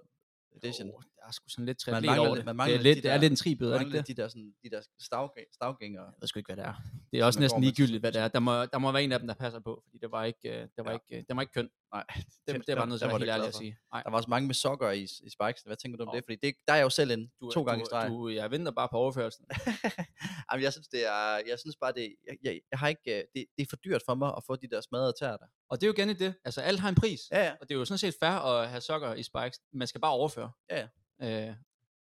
Speaker 4: edition?
Speaker 5: Åh, der er sgu sådan lidt
Speaker 4: Man
Speaker 5: triatlet
Speaker 4: mangler
Speaker 5: over
Speaker 4: lidt-
Speaker 5: det.
Speaker 4: man
Speaker 5: det,
Speaker 4: mangler
Speaker 5: er
Speaker 4: lidt
Speaker 5: lidt,
Speaker 4: de
Speaker 5: det er
Speaker 4: der-
Speaker 5: lidt en tribøde, er det
Speaker 4: Mange
Speaker 5: ikke
Speaker 4: lidt
Speaker 5: det?
Speaker 4: de der, sådan, de der stavg- stavgængere.
Speaker 5: Jeg ved sgu ikke, hvad det er. Det er også
Speaker 4: man går
Speaker 5: næsten
Speaker 4: med.
Speaker 5: ligegyldigt, hvad det er. Der må, der må være en af dem, der passer på, fordi det var ikke, øh, det var
Speaker 4: Ja.
Speaker 5: ikke, øh, det var ikke køn.
Speaker 4: Nej,
Speaker 5: Det, det er
Speaker 4: der-
Speaker 5: bare noget,
Speaker 4: der
Speaker 5: jeg
Speaker 4: var
Speaker 5: er
Speaker 4: du
Speaker 5: helt ærlig
Speaker 4: glad
Speaker 5: at
Speaker 4: for.
Speaker 5: sige. Nej,
Speaker 4: Der var også mange med sokker i, i spikes. Hvad tænker du om
Speaker 5: Åh.
Speaker 4: det? Fordi det, der er jeg jo selv en
Speaker 5: du,
Speaker 4: to gange
Speaker 5: du,
Speaker 4: i streg.
Speaker 5: Du, jeg venter bare på overførelsen.
Speaker 4: Jamen, jeg synes, det er, jeg synes bare, det, jeg, jeg, jeg har ikke, øh, det, det er for dyrt for mig at få de der smadrede tæer der.
Speaker 5: Og det er jo igen i det. Altså, alt har en pris.
Speaker 4: Ja, ja.
Speaker 5: Og det er jo sådan set fair at have sokker i spikes. Man skal bare overføre.
Speaker 4: Ja,
Speaker 5: Øh,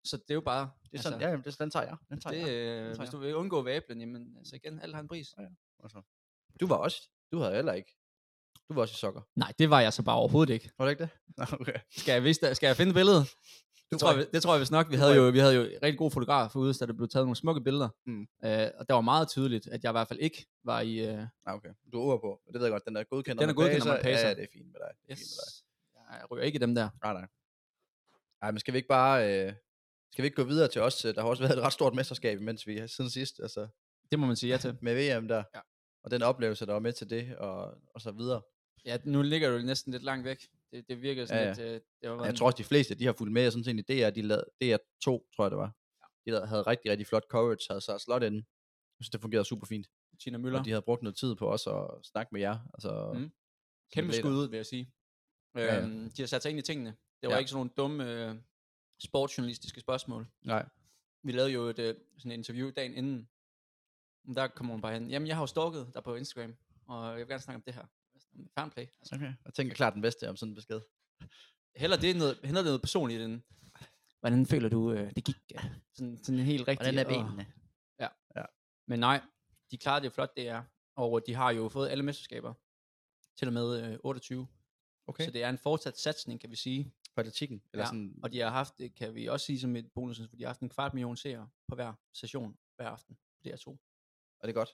Speaker 5: så det er jo bare...
Speaker 4: Det er sådan, altså, ja, jamen, det, den tager jeg. Den tager det, jeg.
Speaker 5: det, øh,
Speaker 4: tager
Speaker 5: hvis
Speaker 4: jeg.
Speaker 5: du vil undgå vablen, jamen altså igen, alt har en pris.
Speaker 4: Altså. Du var også, du havde heller ikke. Du var også i sokker.
Speaker 5: Nej, det var jeg så bare overhovedet ikke.
Speaker 4: Var du ikke det? Nå, okay.
Speaker 5: Skal jeg, vise, skal jeg finde billedet? Det tror,
Speaker 4: tror
Speaker 5: jeg, det tror jeg vist nok. Vi havde, jo, vi havde jo rigtig gode fotografer ude, så der blev taget nogle smukke billeder.
Speaker 4: Mm.
Speaker 5: Øh, og der var meget tydeligt, at jeg i hvert fald ikke var i... Øh,
Speaker 4: Ah, okay. Du er over på. Det ved jeg godt, den er godkendt.
Speaker 5: Den
Speaker 4: når
Speaker 5: er
Speaker 4: man
Speaker 5: godkendt, når
Speaker 4: baser.
Speaker 5: man baser.
Speaker 4: Ja, ja, det er fint med dig. Det er
Speaker 5: yes,
Speaker 4: fint med dig.
Speaker 5: øh, jeg ryger ikke i dem der.
Speaker 4: Nej, nej. Nej, men skal vi ikke bare... Øh, skal vi ikke gå videre til os? øh, Der har også været et ret stort mesterskab, mens vi siden sidst, altså
Speaker 5: Det må man sige ja til.
Speaker 4: med VM der.
Speaker 5: Ja.
Speaker 4: Og den oplevelse, der var med til det, og, og så videre.
Speaker 5: Ja, nu ligger du næsten lidt langt væk. Det, det virker sådan
Speaker 4: Ja,
Speaker 5: lidt... Øh, det var
Speaker 4: Jeg tror også, de fleste, de har fulgt med, og sådan set i DR, de lavede, DR2, tror jeg det var. De lavede- havde rigtig, rigtig flot coverage, havde så slot inden. Jeg synes, det fungerede super fint.
Speaker 5: Tina
Speaker 4: Og
Speaker 5: Møller.
Speaker 4: de havde brugt noget tid på os at snakke med jer. Altså,
Speaker 5: Mm.
Speaker 4: mm.
Speaker 5: Kæmpe
Speaker 4: atleter.
Speaker 5: skud ud, vil jeg sige. Øhm,
Speaker 4: Ja, ja.
Speaker 5: De har sat sig ind i tingene. Det var
Speaker 4: Ja.
Speaker 5: ikke sådan nogle dumme øh, sportsjournalistiske spørgsmål.
Speaker 4: Nej.
Speaker 5: Vi lavede jo et øh, sådan et interview dagen inden. Men Der kommer hun bare hen. Jamen, jeg har jo stalket dig på Instagram, og jeg vil gerne snakke om det her. Fair play. Altså,
Speaker 4: Okay. Jeg tænker klart den bedste om sådan en besked.
Speaker 5: heller det er noget, heller det er noget personligt end, hvordan føler du, øh, det gik? øh, Sådan, sådan helt rigtigt.
Speaker 4: Hvordan er
Speaker 5: og-
Speaker 4: benene?
Speaker 5: Men nej, de klarede det flot, det er. Og de har jo fået alle mesterskaber, til og med øh, 28.
Speaker 4: Okay.
Speaker 5: Så det er en fortsat satsning, kan vi sige.
Speaker 4: På atletikken? Eller
Speaker 5: Ja,
Speaker 4: sådan,
Speaker 5: Og de har haft, det kan vi også sige som et bonus, for de har haft en kvart million seere på hver session hver aften på DR2.
Speaker 4: er det godt?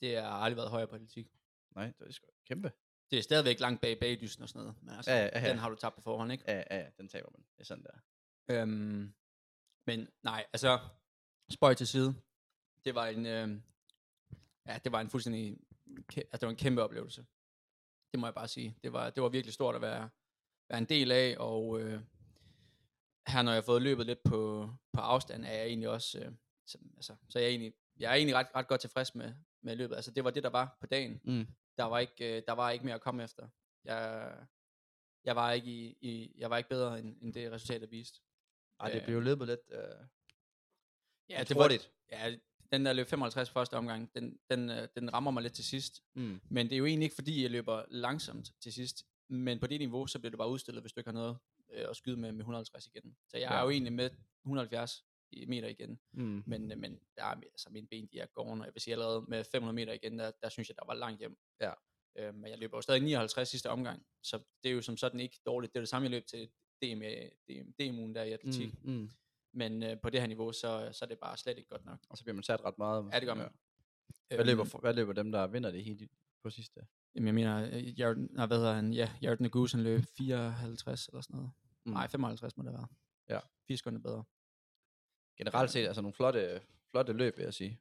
Speaker 5: Det har aldrig været højere på atletik.
Speaker 4: Nej, det er sgu kæmpe.
Speaker 5: Det er stadigvæk langt bag bagdysten og sådan noget, men altså,
Speaker 4: Ja, ja, ja.
Speaker 5: den har du tabt på forhånd, ikke?
Speaker 4: Ja, ja, ja, den taber man. Det er sådan der.
Speaker 5: Øhm, men nej, altså, spøj til side. Det var en, øh, ja, det var en fuldstændig, kæ- altså, det var en kæmpe oplevelse. Det må jeg bare sige. Det var, det var virkelig stort at være, være en del af, og øh, her når jeg har fået løbet lidt på, på afstand, er jeg egentlig også, øh, så, altså, så er jeg egentlig, jeg er egentlig ret, ret godt tilfreds med, med løbet. Altså, det var det, der var på dagen.
Speaker 4: Mm.
Speaker 5: Der var ikke, øh, der var ikke mere at komme efter. Jeg, jeg var ikke, i, i, jeg var ikke bedre, end, end det resultatet viste.
Speaker 4: Ej, det
Speaker 5: Ja.
Speaker 4: blev løbet lidt øh,
Speaker 5: Ja,
Speaker 4: lidt
Speaker 5: det var,
Speaker 4: hurtigt.
Speaker 5: ja, den der løb 55 første omgang, den, den, øh, den rammer mig lidt til sidst.
Speaker 4: Mm.
Speaker 5: Men det er jo egentlig ikke, fordi jeg løber langsomt til sidst. Men på det niveau, så bliver det bare udstillet, hvis du ikke har noget øh, at skyde med, med 150 igen. Så jeg
Speaker 4: Ja.
Speaker 5: er jo egentlig med 170 i- meter igen.
Speaker 4: Mm.
Speaker 5: Men, øh, men der er, altså, mine ben, de er gården, og jeg vil sige allerede med 500 meter igen, der, der synes jeg, der var langt hjem.
Speaker 4: Ja.
Speaker 5: Øh, men jeg løber jo stadig 59 sidste omgang, så det er jo som sådan ikke dårligt. Det er det samme, jeg løb til DM, DM, DM'en der i atletik. Mm.
Speaker 4: Mm. Mm.
Speaker 5: Men øh, på det her niveau, så, så er det bare slet ikke godt nok.
Speaker 4: Og så bliver man sat ret meget.
Speaker 5: Ja, det gør man.
Speaker 4: Hvad,
Speaker 5: Øhm,
Speaker 4: løber, for- hvad løber dem, der vinder det hele på sidste?
Speaker 5: Jamen, jeg mener, øh, Jared, nej, hvad hedder han? Ja, Jared Nagusen løb 54 eller sådan noget.
Speaker 4: Mm.
Speaker 5: Mm. Nej, 55 må det være.
Speaker 4: Ja.
Speaker 5: 4 sekunder bedre.
Speaker 4: Generelt set, altså nogle flotte, flotte løb, vil jeg sige.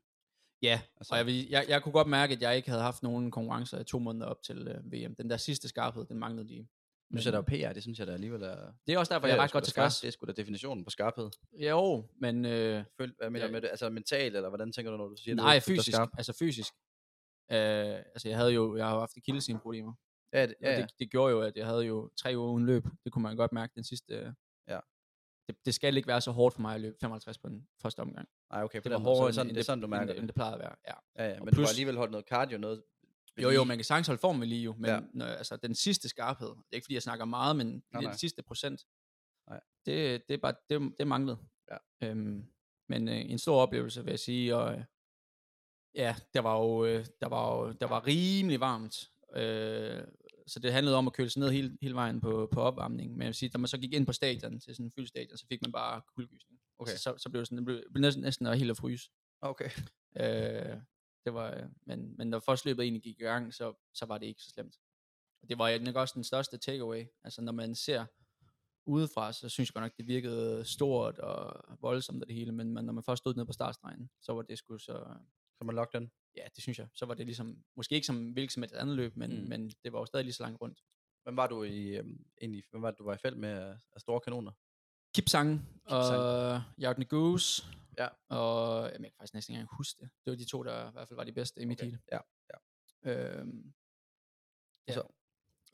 Speaker 5: Ja,
Speaker 4: Altså,
Speaker 5: og jeg, vil, jeg, jeg kunne godt mærke, at jeg ikke havde haft nogen konkurrencer i to måneder op til øh, VM. Den der sidste skarphed, den manglede lige.
Speaker 4: nu sætter jeg jo PR, det synes jeg da alligevel er...
Speaker 5: Det er også derfor,
Speaker 4: Ja,
Speaker 5: jeg
Speaker 4: det
Speaker 5: er ret
Speaker 4: sgu
Speaker 5: godt
Speaker 4: da skarpt.
Speaker 5: tilfreds.
Speaker 4: Det er sgu da definitionen på skarphed.
Speaker 5: Jo, men øh,
Speaker 4: Føl, hvad mener
Speaker 5: Ja.
Speaker 4: du med det? Altså mentalt, eller hvordan tænker du, når du siger det?
Speaker 5: nej,
Speaker 4: Du er
Speaker 5: fysisk.
Speaker 4: skarp.
Speaker 5: Altså fysisk. Øh, altså, jeg havde jo, jeg har jo haft kildesindproblemer.
Speaker 4: Ja, det, ja,
Speaker 5: Ja. Og
Speaker 4: ja.
Speaker 5: det, det gjorde jo, at jeg havde jo tre uger uden løb. Det kunne man godt mærke den sidste... øh,
Speaker 4: Ja.
Speaker 5: Det, det skal ikke være så hårdt for mig at løbe 55 på den første omgang.
Speaker 4: Nej, okay. på
Speaker 5: Det
Speaker 4: den
Speaker 5: var
Speaker 4: måde. Så
Speaker 5: hårdere,
Speaker 4: det er sådan,
Speaker 5: end
Speaker 4: det er sådan, du mærker
Speaker 5: end, end
Speaker 4: det.
Speaker 5: det plejede at være. Ja.
Speaker 4: Ja, ja,
Speaker 5: og
Speaker 4: men du har
Speaker 5: plus-
Speaker 4: alligevel holdt noget cardio, noget...
Speaker 5: Jo, jo, man kan sagtens holde formen ved lige jo, men
Speaker 4: Ja.
Speaker 5: ja. når, altså, den sidste skarphed, det er ikke fordi, jeg snakker meget, men nej,
Speaker 4: nej.
Speaker 5: den sidste procent,
Speaker 4: Nej.
Speaker 5: Det, det, er bare, det, det manglede.
Speaker 4: Ja.
Speaker 5: Øhm, men øh, en stor oplevelse, vil jeg sige, og øh, ja, der var jo, øh, der var jo der var rimelig varmt, øh, så det handlede om at køle sig ned hele, hele vejen på, på opvarmningen, men jeg vil sige, da man så gik ind på stadion, til sådan en fyldt stadion, så fik man bare kuldegysning.
Speaker 4: Okay.
Speaker 5: Så, så, så blev det sådan, det blev, blev næsten, næsten helt at fryse.
Speaker 4: Okay.
Speaker 5: Øh, det var, øh, men, men når først løbet egentlig gik i gang, så, så var det ikke så slemt. Og det var jo nok også den største takeaway. Altså når man ser udefra, så synes jeg godt nok, det virkede stort og voldsomt og det hele, men man, når man først stod nede på startstregen, så var det sgu så,
Speaker 4: Så man lock den.
Speaker 5: ja, det synes jeg, så var det ligesom, måske ikke som hvilket som et andet løb, men,
Speaker 4: Mm.
Speaker 5: mm. men det var jo stadig lige så langt rundt.
Speaker 4: Hvem var du i, øhm, egentlig, hvem var det, du var i felt med af, af store kanoner?
Speaker 5: Kipsang og Jarden Goose,
Speaker 4: Ja.
Speaker 5: og jamen, jeg kan faktisk næsten ikke engang huske det. Det var de Øhm, to, der i hvert fald var de bedste i mit okay.
Speaker 4: Ja.
Speaker 5: Øhm, ja.
Speaker 4: Så,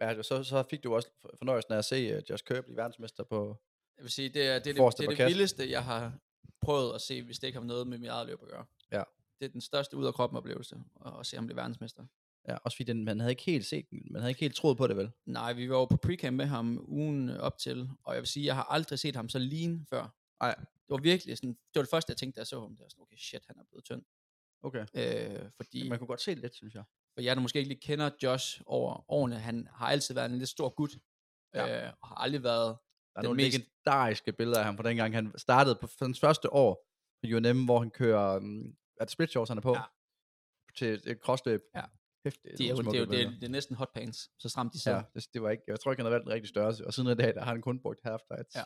Speaker 4: Ja, så, så fik du også fornøjelsen af at se uh, Josh Kerr blive verdensmester på...
Speaker 5: Jeg vil sige, det er det, er det,
Speaker 4: Forreste
Speaker 5: det, er det
Speaker 4: parket.
Speaker 5: vildeste, jeg har prøvet at se, hvis det ikke har noget med mit eget løb at gøre.
Speaker 4: Ja.
Speaker 5: Det er den største ud af kroppen oplevelse, at, at se ham blive verdensmester.
Speaker 4: Ja, også fordi den, man havde ikke helt set den. Man havde ikke helt troet på det, vel?
Speaker 5: Nej, vi var jo på precamp med ham ugen øh, op til, og jeg vil sige, jeg har aldrig set ham så lean før.
Speaker 4: Nej.
Speaker 5: Det var virkelig sådan, det var det første, jeg tænkte, da jeg så ham. Det var sådan, okay, shit, han er blevet tynd.
Speaker 4: Okay.
Speaker 5: Øh, fordi,
Speaker 4: Man kunne godt se det lidt, synes jeg.
Speaker 5: for jer, der måske ikke lige kender Josh over årene, han har altid været en lidt stor gut, ja.
Speaker 4: Ja.
Speaker 5: øh, og har aldrig været
Speaker 4: Der er
Speaker 5: Den
Speaker 4: nogle mest...
Speaker 5: mest-
Speaker 4: legendariske billeder af ham fra dengang, han startede på for hans første år på UNM, hvor han kører, um, er det split shorts, han er på?
Speaker 5: Ja.
Speaker 4: Ja. Til et crossløb.
Speaker 5: Ja.
Speaker 4: Hæft, det er,
Speaker 5: Det er, jo,
Speaker 4: nogle
Speaker 5: det, er jo,
Speaker 4: smukke
Speaker 5: det, er,
Speaker 4: billeder.
Speaker 5: det er næsten hotpants, så stramt de sidder.
Speaker 4: Ja,
Speaker 5: Ja,
Speaker 4: det, det var ikke, jeg tror ikke, han har valgt den rigtige størrelse, og siden i dag, der har han kun brugt half tights.
Speaker 5: Ja.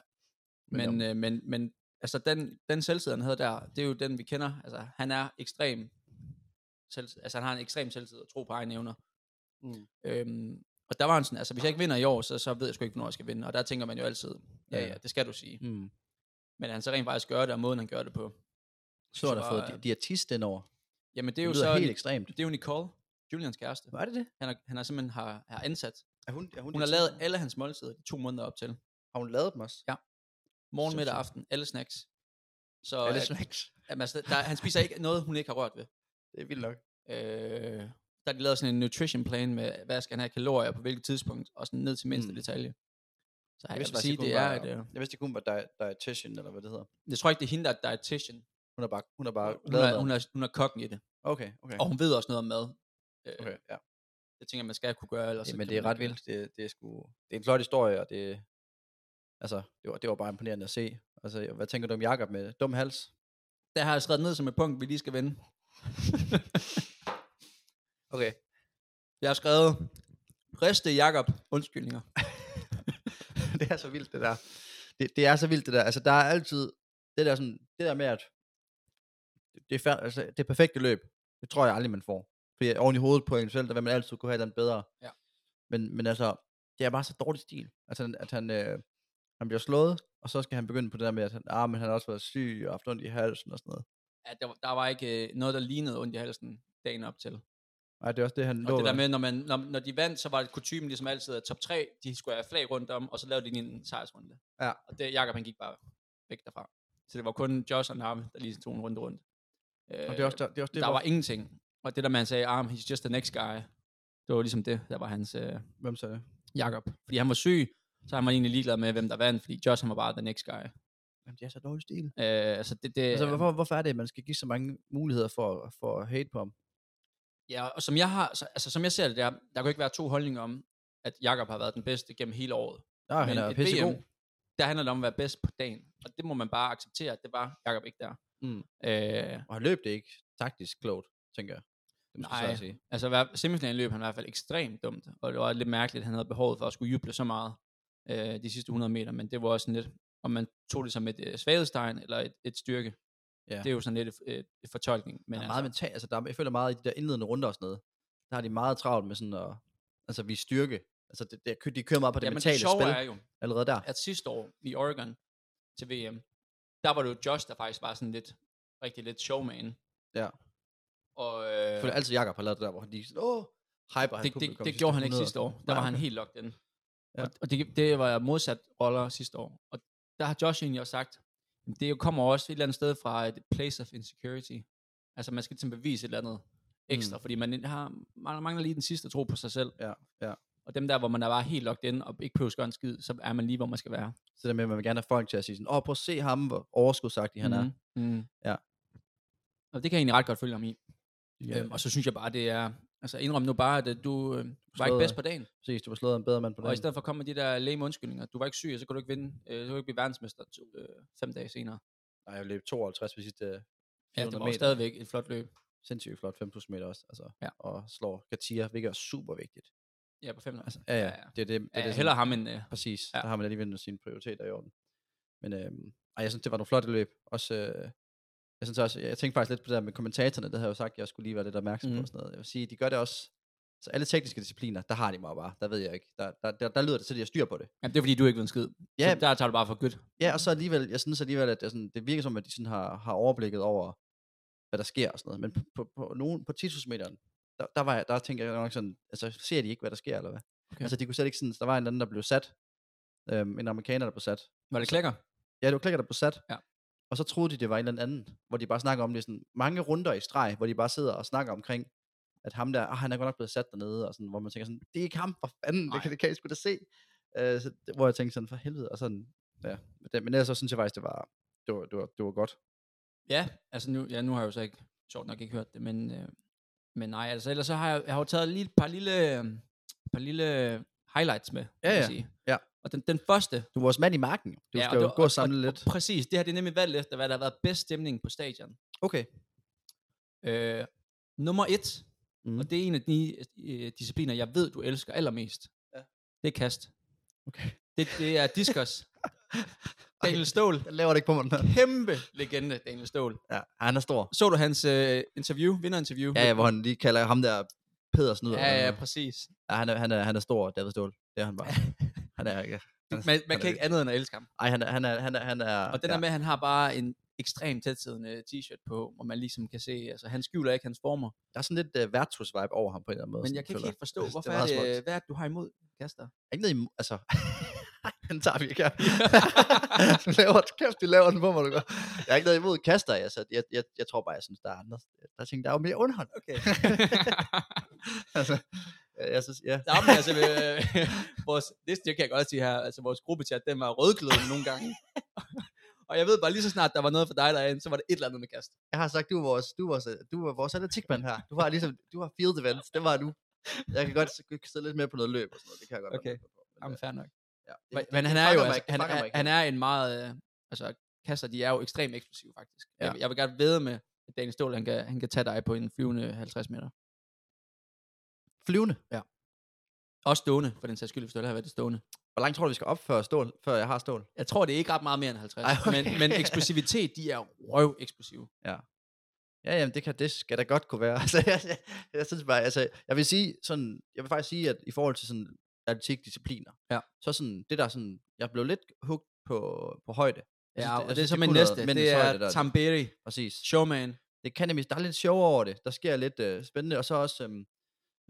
Speaker 5: men, øh, men, men altså den, den selvtid, han havde der, det er jo den, vi kender. Altså, han er ekstrem selv, altså han har en ekstrem selvtid og tro på egne evner.
Speaker 4: Mm.
Speaker 5: Øhm, og der var han sådan, altså hvis jeg ikke vinder i år, så, så ved jeg sgu ikke, hvornår jeg skal vinde. Og der tænker man jo altid, ja,
Speaker 4: Ja,
Speaker 5: ja,
Speaker 4: ja.
Speaker 5: det skal du sige.
Speaker 4: mm.
Speaker 5: Men at han så rent faktisk gør det, og måden han gør det på.
Speaker 4: Så har der
Speaker 5: var-
Speaker 4: fået di- diatist den over.
Speaker 5: Jamen det er
Speaker 4: Det,
Speaker 5: jo
Speaker 4: lyder
Speaker 5: så,
Speaker 4: helt ekstremt.
Speaker 5: det er jo Nicole, Julians kæreste.
Speaker 4: Var det det?
Speaker 5: Han har, han har simpelthen har, har ansat.
Speaker 4: Er hun, er
Speaker 5: Hun har lavet alle hans måltider de to måneder op til.
Speaker 4: har hun lavet dem også?
Speaker 5: Ja. Morgen, middag,
Speaker 4: Sindssygt.
Speaker 5: aften, alle snacks. Så
Speaker 4: Er
Speaker 5: alle
Speaker 4: det
Speaker 5: at,
Speaker 4: snacks?
Speaker 5: at, altså, der, han spiser ikke noget, hun ikke har rørt ved.
Speaker 4: Det er vildt nok.
Speaker 5: Øh, der har de lavet sådan en nutrition plan med, hvad skal han have af kalorier på hvilket tidspunkt, og sådan ned til mindste
Speaker 4: Mm.
Speaker 5: mm. detalje. Så jeg, jeg
Speaker 4: vidste
Speaker 5: vil
Speaker 4: faktisk
Speaker 5: sige,
Speaker 4: ikke,
Speaker 5: det
Speaker 4: hun
Speaker 5: er,
Speaker 4: var-
Speaker 5: at, øh,
Speaker 4: Jeg vidste ikke, hun var di- dietitian, eller hvad det hedder.
Speaker 5: jeg tror ikke, det er hende, der er dietitian.
Speaker 4: Hun har bare, hun har bare
Speaker 5: Hun
Speaker 4: lavet
Speaker 5: er, hun,
Speaker 4: maden.
Speaker 5: er, hun er kokken i det,
Speaker 4: Okay, okay.
Speaker 5: og hun ved også noget om mad. Øh,
Speaker 4: okay ja.
Speaker 5: Det tænker jeg, man skal kunne gøre. Ellers så
Speaker 4: Jamen,
Speaker 5: kan
Speaker 4: det er
Speaker 5: man
Speaker 4: ret
Speaker 5: ikke-
Speaker 4: vildt. Det, det, er sgu, det er en flot historie, og det, altså, det, var, det var bare imponerende at se. Altså, hvad tænker du om Jakob med dum hals?
Speaker 5: Der har jeg skrevet ned som et punkt, vi lige skal vende.
Speaker 4: Okay.
Speaker 5: Jeg har skrevet, riste Jakob undskyldninger.
Speaker 4: det er så vildt, det der. Det, det er så vildt, det der. Altså, der er altid det der, sådan, det der med, at det, er fær- altså, det perfekte løb, det tror jeg aldrig, man får. Fordi oven i hovedet på en selv, der vil man altid kunne have et eller andet bedre.
Speaker 5: Ja.
Speaker 4: Men, men altså, det er bare så dårlig stil. Altså, han- at han, øh, han bliver slået, og så skal han begynde på det der med, at han, ah, men han har også været syg og haft ondt i halsen og sådan noget.
Speaker 5: Ja, der, var- der var ikke øh, noget, der lignede ondt i halsen dagen op til.
Speaker 4: Nej, det er også det, han
Speaker 5: Og
Speaker 4: lå
Speaker 5: det der
Speaker 4: med.
Speaker 5: med, når, man, når, når de vandt, så var det kutumen ligesom altid, at top 3, de skulle have flag rundt om, og så lavede de lige en sejrsrunde.
Speaker 4: Ja.
Speaker 5: Og det, Jakob han gik bare væk derfra. Så det var kun Josh og Nami, der lige tog en runde rundt. Øh,
Speaker 4: Og det er også der, det er også det,
Speaker 5: der
Speaker 4: hvor-
Speaker 5: var ingenting. Og det der, man sagde, arm, he's just the next guy, det var ligesom det, der var hans øh,
Speaker 4: Hvem sagde det?
Speaker 5: Jakob. Fordi han var syg, så han var egentlig ligeglad med, hvem der vandt, fordi Josh han var bare the next guy.
Speaker 4: Jamen, det er så dårlig stil.
Speaker 5: Øh, altså det, det,
Speaker 4: Altså, hvorfor, hvorfor er det, at man skal give så mange muligheder for, for at hate på ham?
Speaker 5: Ja, og som jeg, har, så- altså, som jeg ser det, der, der kan ikke være to holdninger om, at Jakob har været den bedste gennem hele året.
Speaker 4: Nå, han er
Speaker 5: et
Speaker 4: pissegod.
Speaker 5: VM, der handler det om at være bedst på dagen. Og det må man bare acceptere, at det var Jakob ikke der.
Speaker 4: Mm.
Speaker 5: Øh,
Speaker 4: Og han løb det ikke taktisk klogt, tænker jeg. Det må
Speaker 5: Nej.
Speaker 4: jeg sige.
Speaker 5: altså hver- semifinalen løb han i hvert fald ekstremt dumt, og det var lidt mærkeligt, at han havde behovet for at skulle juble så meget øh, de sidste 100 meter, men det var også sådan lidt, om man tog det som et øh, svaghedstegn eller et, et styrke.
Speaker 4: Ja.
Speaker 5: Det er jo sådan lidt et, et, et fortolkning.
Speaker 4: Men
Speaker 5: Men
Speaker 4: der er meget mental, altså, der er, jeg føler meget i de der indledende runder og sådan noget. Der har de meget travlt med sådan at altså, vi styrke. Altså, det, det, de kører meget på det
Speaker 5: ja,
Speaker 4: ja,
Speaker 5: men
Speaker 4: mentale
Speaker 5: det sjove
Speaker 4: spil
Speaker 5: er jo,
Speaker 4: allerede der.
Speaker 5: at sidste år i Oregon til VM, der var det jo Josh, der faktisk var sådan lidt, rigtig lidt showman.
Speaker 4: Ja.
Speaker 5: Og, øh,
Speaker 4: Jeg føler altid, Jakob har lavet det der, hvor han lige sådan, åh, hyper hans
Speaker 5: det, det,
Speaker 4: publikum
Speaker 5: det
Speaker 4: de
Speaker 5: gjorde han ikke
Speaker 4: 100
Speaker 5: sidste år. Der
Speaker 4: Nej,
Speaker 5: var han
Speaker 4: okay.
Speaker 5: helt locked in. Ja.
Speaker 4: Ja.
Speaker 5: Og, og det, det var modsat roller sidste år. Og der har Josh egentlig også sagt, "Jamen, det kommer også et eller andet sted fra et place of insecurity. Altså man skal ligesom bevise et eller andet ekstra, mm. fordi man, har, man mangler lige den sidste tro på sig selv.
Speaker 4: Ja, ja.
Speaker 5: Og dem der, hvor man er bare helt locked in og ikke behøver at gøre en skid, så er man lige, hvor man skal være.
Speaker 4: Så det med, at man vil gerne have folk til at sige sådan, åh, prøv at se ham, hvor overskudsagtig han er.
Speaker 5: Mm. Mm.
Speaker 4: Ja.
Speaker 5: Og det kan jeg egentlig ret godt følge ham i.
Speaker 4: Ja.
Speaker 5: Øhm, og så synes jeg bare, det er... Altså indrøm nu bare, at du øh, var ikke
Speaker 4: Slået
Speaker 5: bedst
Speaker 4: af.
Speaker 5: på dagen.
Speaker 4: Præcis, du var slået af en bedre mand på
Speaker 5: Og i
Speaker 4: dagen.
Speaker 5: stedet for at komme med de der lame undskyldninger, du var ikke syg, og så kunne du ikke vinde, øh, så kunne du ikke blive verdensmester to, øh, fem dage senere.
Speaker 4: Nej, jeg løb 52 på sidste øh, 400
Speaker 5: Ja, det var jo
Speaker 4: meter.
Speaker 5: stadigvæk et flot løb.
Speaker 4: Sindssygt flot, 5 plus meter også. Altså,
Speaker 5: Ja.
Speaker 4: Og slår Katia, hvilket er super vigtigt.
Speaker 5: Ja, på fem altså,
Speaker 4: Ja, ja.
Speaker 5: ja.
Speaker 4: Det er det, det, er
Speaker 5: ja,
Speaker 4: det
Speaker 5: det
Speaker 4: sådan-
Speaker 5: heller ham end... Øh,
Speaker 4: Præcis,
Speaker 5: Ja.
Speaker 4: ja. der har man alligevel sine prioriteter i orden. Men øhm, ej, jeg synes, det var nogle flotte løb. Også, øh, jeg, synes også, jeg tænkte faktisk lidt på det der med kommentatorerne, det havde jeg jo sagt, jeg skulle lige være lidt opmærksom mm. på
Speaker 5: Mhm.
Speaker 4: og sådan noget. Jeg vil sige, de gør det også, så alle tekniske discipliner, der har de mig bare, der ved jeg ikke. Der, der, der, der lyder det til, at jeg styr på det.
Speaker 5: jamen, det er fordi, du ikke ved en skid. Ja.
Speaker 4: Ja.
Speaker 5: Så der tager du bare for good.
Speaker 4: Ja, og så alligevel, jeg synes alligevel, at det, er sådan, det virker som, at de sådan har, har overblikket over, hvad der sker og sådan noget. Men på, på, på, nogen, på 10.000 meteren, der, der, var jeg, der tænkte jeg nok sådan, altså ser de ikke, hvad der sker, eller hvad?
Speaker 5: Okay.
Speaker 4: Altså, de kunne slet ikke sådan, der var en eller anden, der blev sat. Øhm, en amerikaner, der blev sat.
Speaker 5: Var det klækker?
Speaker 4: Ja, det var klikker, der blev sat.
Speaker 5: Ja.
Speaker 4: Og så troede de, det var en eller anden, hvor de bare snakker om det sådan mange runder i streg, hvor de bare sidder og snakker omkring, at ham der, ah, han er godt nok blevet sat dernede, og sådan, hvor man tænker sådan, det er ikke ham, for fanden, det kan, det kan jeg sgu da se. Øh, så, det- hvor jeg tænkte sådan, for helvede, og sådan, ja. Men, det, men ellers så synes jeg faktisk, det var, det var, det var, det var godt.
Speaker 5: Ja, altså nu, ja, nu har jeg jo så ikke, sjovt nok ikke hørt det, men, øh, men nej, altså ellers så har jeg, jeg har jo taget lige et par lille, øh, par lille highlights med, kan
Speaker 4: Ja,
Speaker 5: man
Speaker 4: ja,
Speaker 5: sige.
Speaker 4: ja.
Speaker 5: Og den, den første,
Speaker 4: Du var også mand i marken. jo. Du ja,
Speaker 5: ja,
Speaker 4: skal jo
Speaker 5: det,
Speaker 4: gå og samle lidt.
Speaker 5: Og, præcis, det her det er nemlig valgt efter, hvad der har været bedst stemning på stadion.
Speaker 4: Okay.
Speaker 5: Øh, nummer et,
Speaker 4: Mhm.
Speaker 5: mm. og det er en af de øh, discipliner, jeg ved, du elsker allermest.
Speaker 4: Ja.
Speaker 5: Det er kast.
Speaker 4: Okay.
Speaker 5: Det, det er diskus. Daniel Ståhl,
Speaker 4: Jeg laver det ikke på mig. den her.
Speaker 5: kæmpe legende, Daniel Ståhl.
Speaker 4: Ja, han er stor.
Speaker 5: Så du hans øh, interview, vinderinterview?
Speaker 4: Ja, ja, hvor han lige kalder ham der Pedersen ud.
Speaker 5: ja, ja, præcis.
Speaker 4: ja han, er, han, er, han er stor, David Ståhl. Det er han bare. han er, ja.
Speaker 5: Du,
Speaker 4: Han-
Speaker 5: man, man
Speaker 4: han er
Speaker 5: kan ikke andet end at elske ham.
Speaker 4: Ej, han er, han er, han er, han er
Speaker 5: Og den
Speaker 4: ja.
Speaker 5: der med, at han har bare en ekstremt tætsiddende t-shirt på, hvor man ligesom kan se, altså han skjuler ikke hans former.
Speaker 4: der er sådan lidt uh, værtshus-vibe over ham på en eller anden måde.
Speaker 5: Men
Speaker 4: sådan,
Speaker 5: jeg kan ikke
Speaker 4: føler
Speaker 5: helt forstå,
Speaker 4: Det er
Speaker 5: hvorfor er
Speaker 4: meget
Speaker 5: det, øh,
Speaker 4: smukt.
Speaker 5: hvad er det, du har imod kaster?
Speaker 4: Der er Ikke noget imod, altså... den tager vi ikke her. du laver, kæft, du laver den på mig, du gør. Jeg har ikke noget imod kaster, altså. Jeg, jeg, jeg tror bare, jeg synes, der er andre. Der er ting, der er jo mere underhold.
Speaker 5: Okay.
Speaker 4: altså, jeg, jeg synes, ja.
Speaker 5: Nå, men altså, øh, vores, det, det kan jeg godt sige her, altså vores gruppechat, den var rødglødende nogle gange. og jeg ved bare, lige så snart der var noget for dig derinde, så var det et eller andet med kast.
Speaker 4: Jeg har sagt, du er vores, du er vores, du er vores atletikmand her. Du har ligesom, du har field events. Det var du. Jeg kan godt s- sidde lidt mere på noget løb og sådan noget. Det kan jeg godt være
Speaker 5: Okay.
Speaker 4: med på. Men,
Speaker 5: Jamen,
Speaker 4: øh,
Speaker 5: fair nok.
Speaker 4: ja. Det-
Speaker 5: Men,
Speaker 4: det-
Speaker 5: men
Speaker 4: det
Speaker 5: han er jo,
Speaker 4: fanger mig
Speaker 5: altså,
Speaker 4: ikke. Det
Speaker 5: han,
Speaker 4: fanger mig
Speaker 5: er,
Speaker 4: ikke.
Speaker 5: han er en meget, øh, altså kasser, de er jo ekstremt eksplosive faktisk. Ja. Jeg,
Speaker 4: Ja.
Speaker 5: vil- jeg vil gerne vide med, at Daniel Ståhl, han kan, han kan tage dig på en flyvende 50 meter.
Speaker 4: flyvende. Ja.
Speaker 5: Også stående, for den sags skyld, hvis du har været det stående.
Speaker 4: Hvor langt tror du, vi skal op før stål, før jeg har stål?
Speaker 5: Jeg tror, det er ikke ret meget mere end 50.
Speaker 4: Ej, okay.
Speaker 5: men, men eksplosivitet, de er røv eksplosive.
Speaker 4: Ja, jamen, det, kan, det skal da godt kunne være. Altså, jeg, jeg, jeg, synes bare, altså, jeg vil sige sådan, jeg vil faktisk sige, at i forhold til sådan atletikdiscipliner,
Speaker 5: Ja.
Speaker 4: så sådan, det der sådan, jeg blev lidt hugt på, på højde. Jeg
Speaker 5: Ja,
Speaker 4: jeg
Speaker 5: og det er så
Speaker 4: de
Speaker 5: min
Speaker 4: kunne noget
Speaker 5: næste.
Speaker 4: mændens
Speaker 5: Det
Speaker 4: højde der.
Speaker 5: er Tamberi,
Speaker 4: Præcis.
Speaker 5: showman.
Speaker 4: Det kan nemlig, der er lidt sjov over det. Der sker lidt øh, spændende, og så også øhm,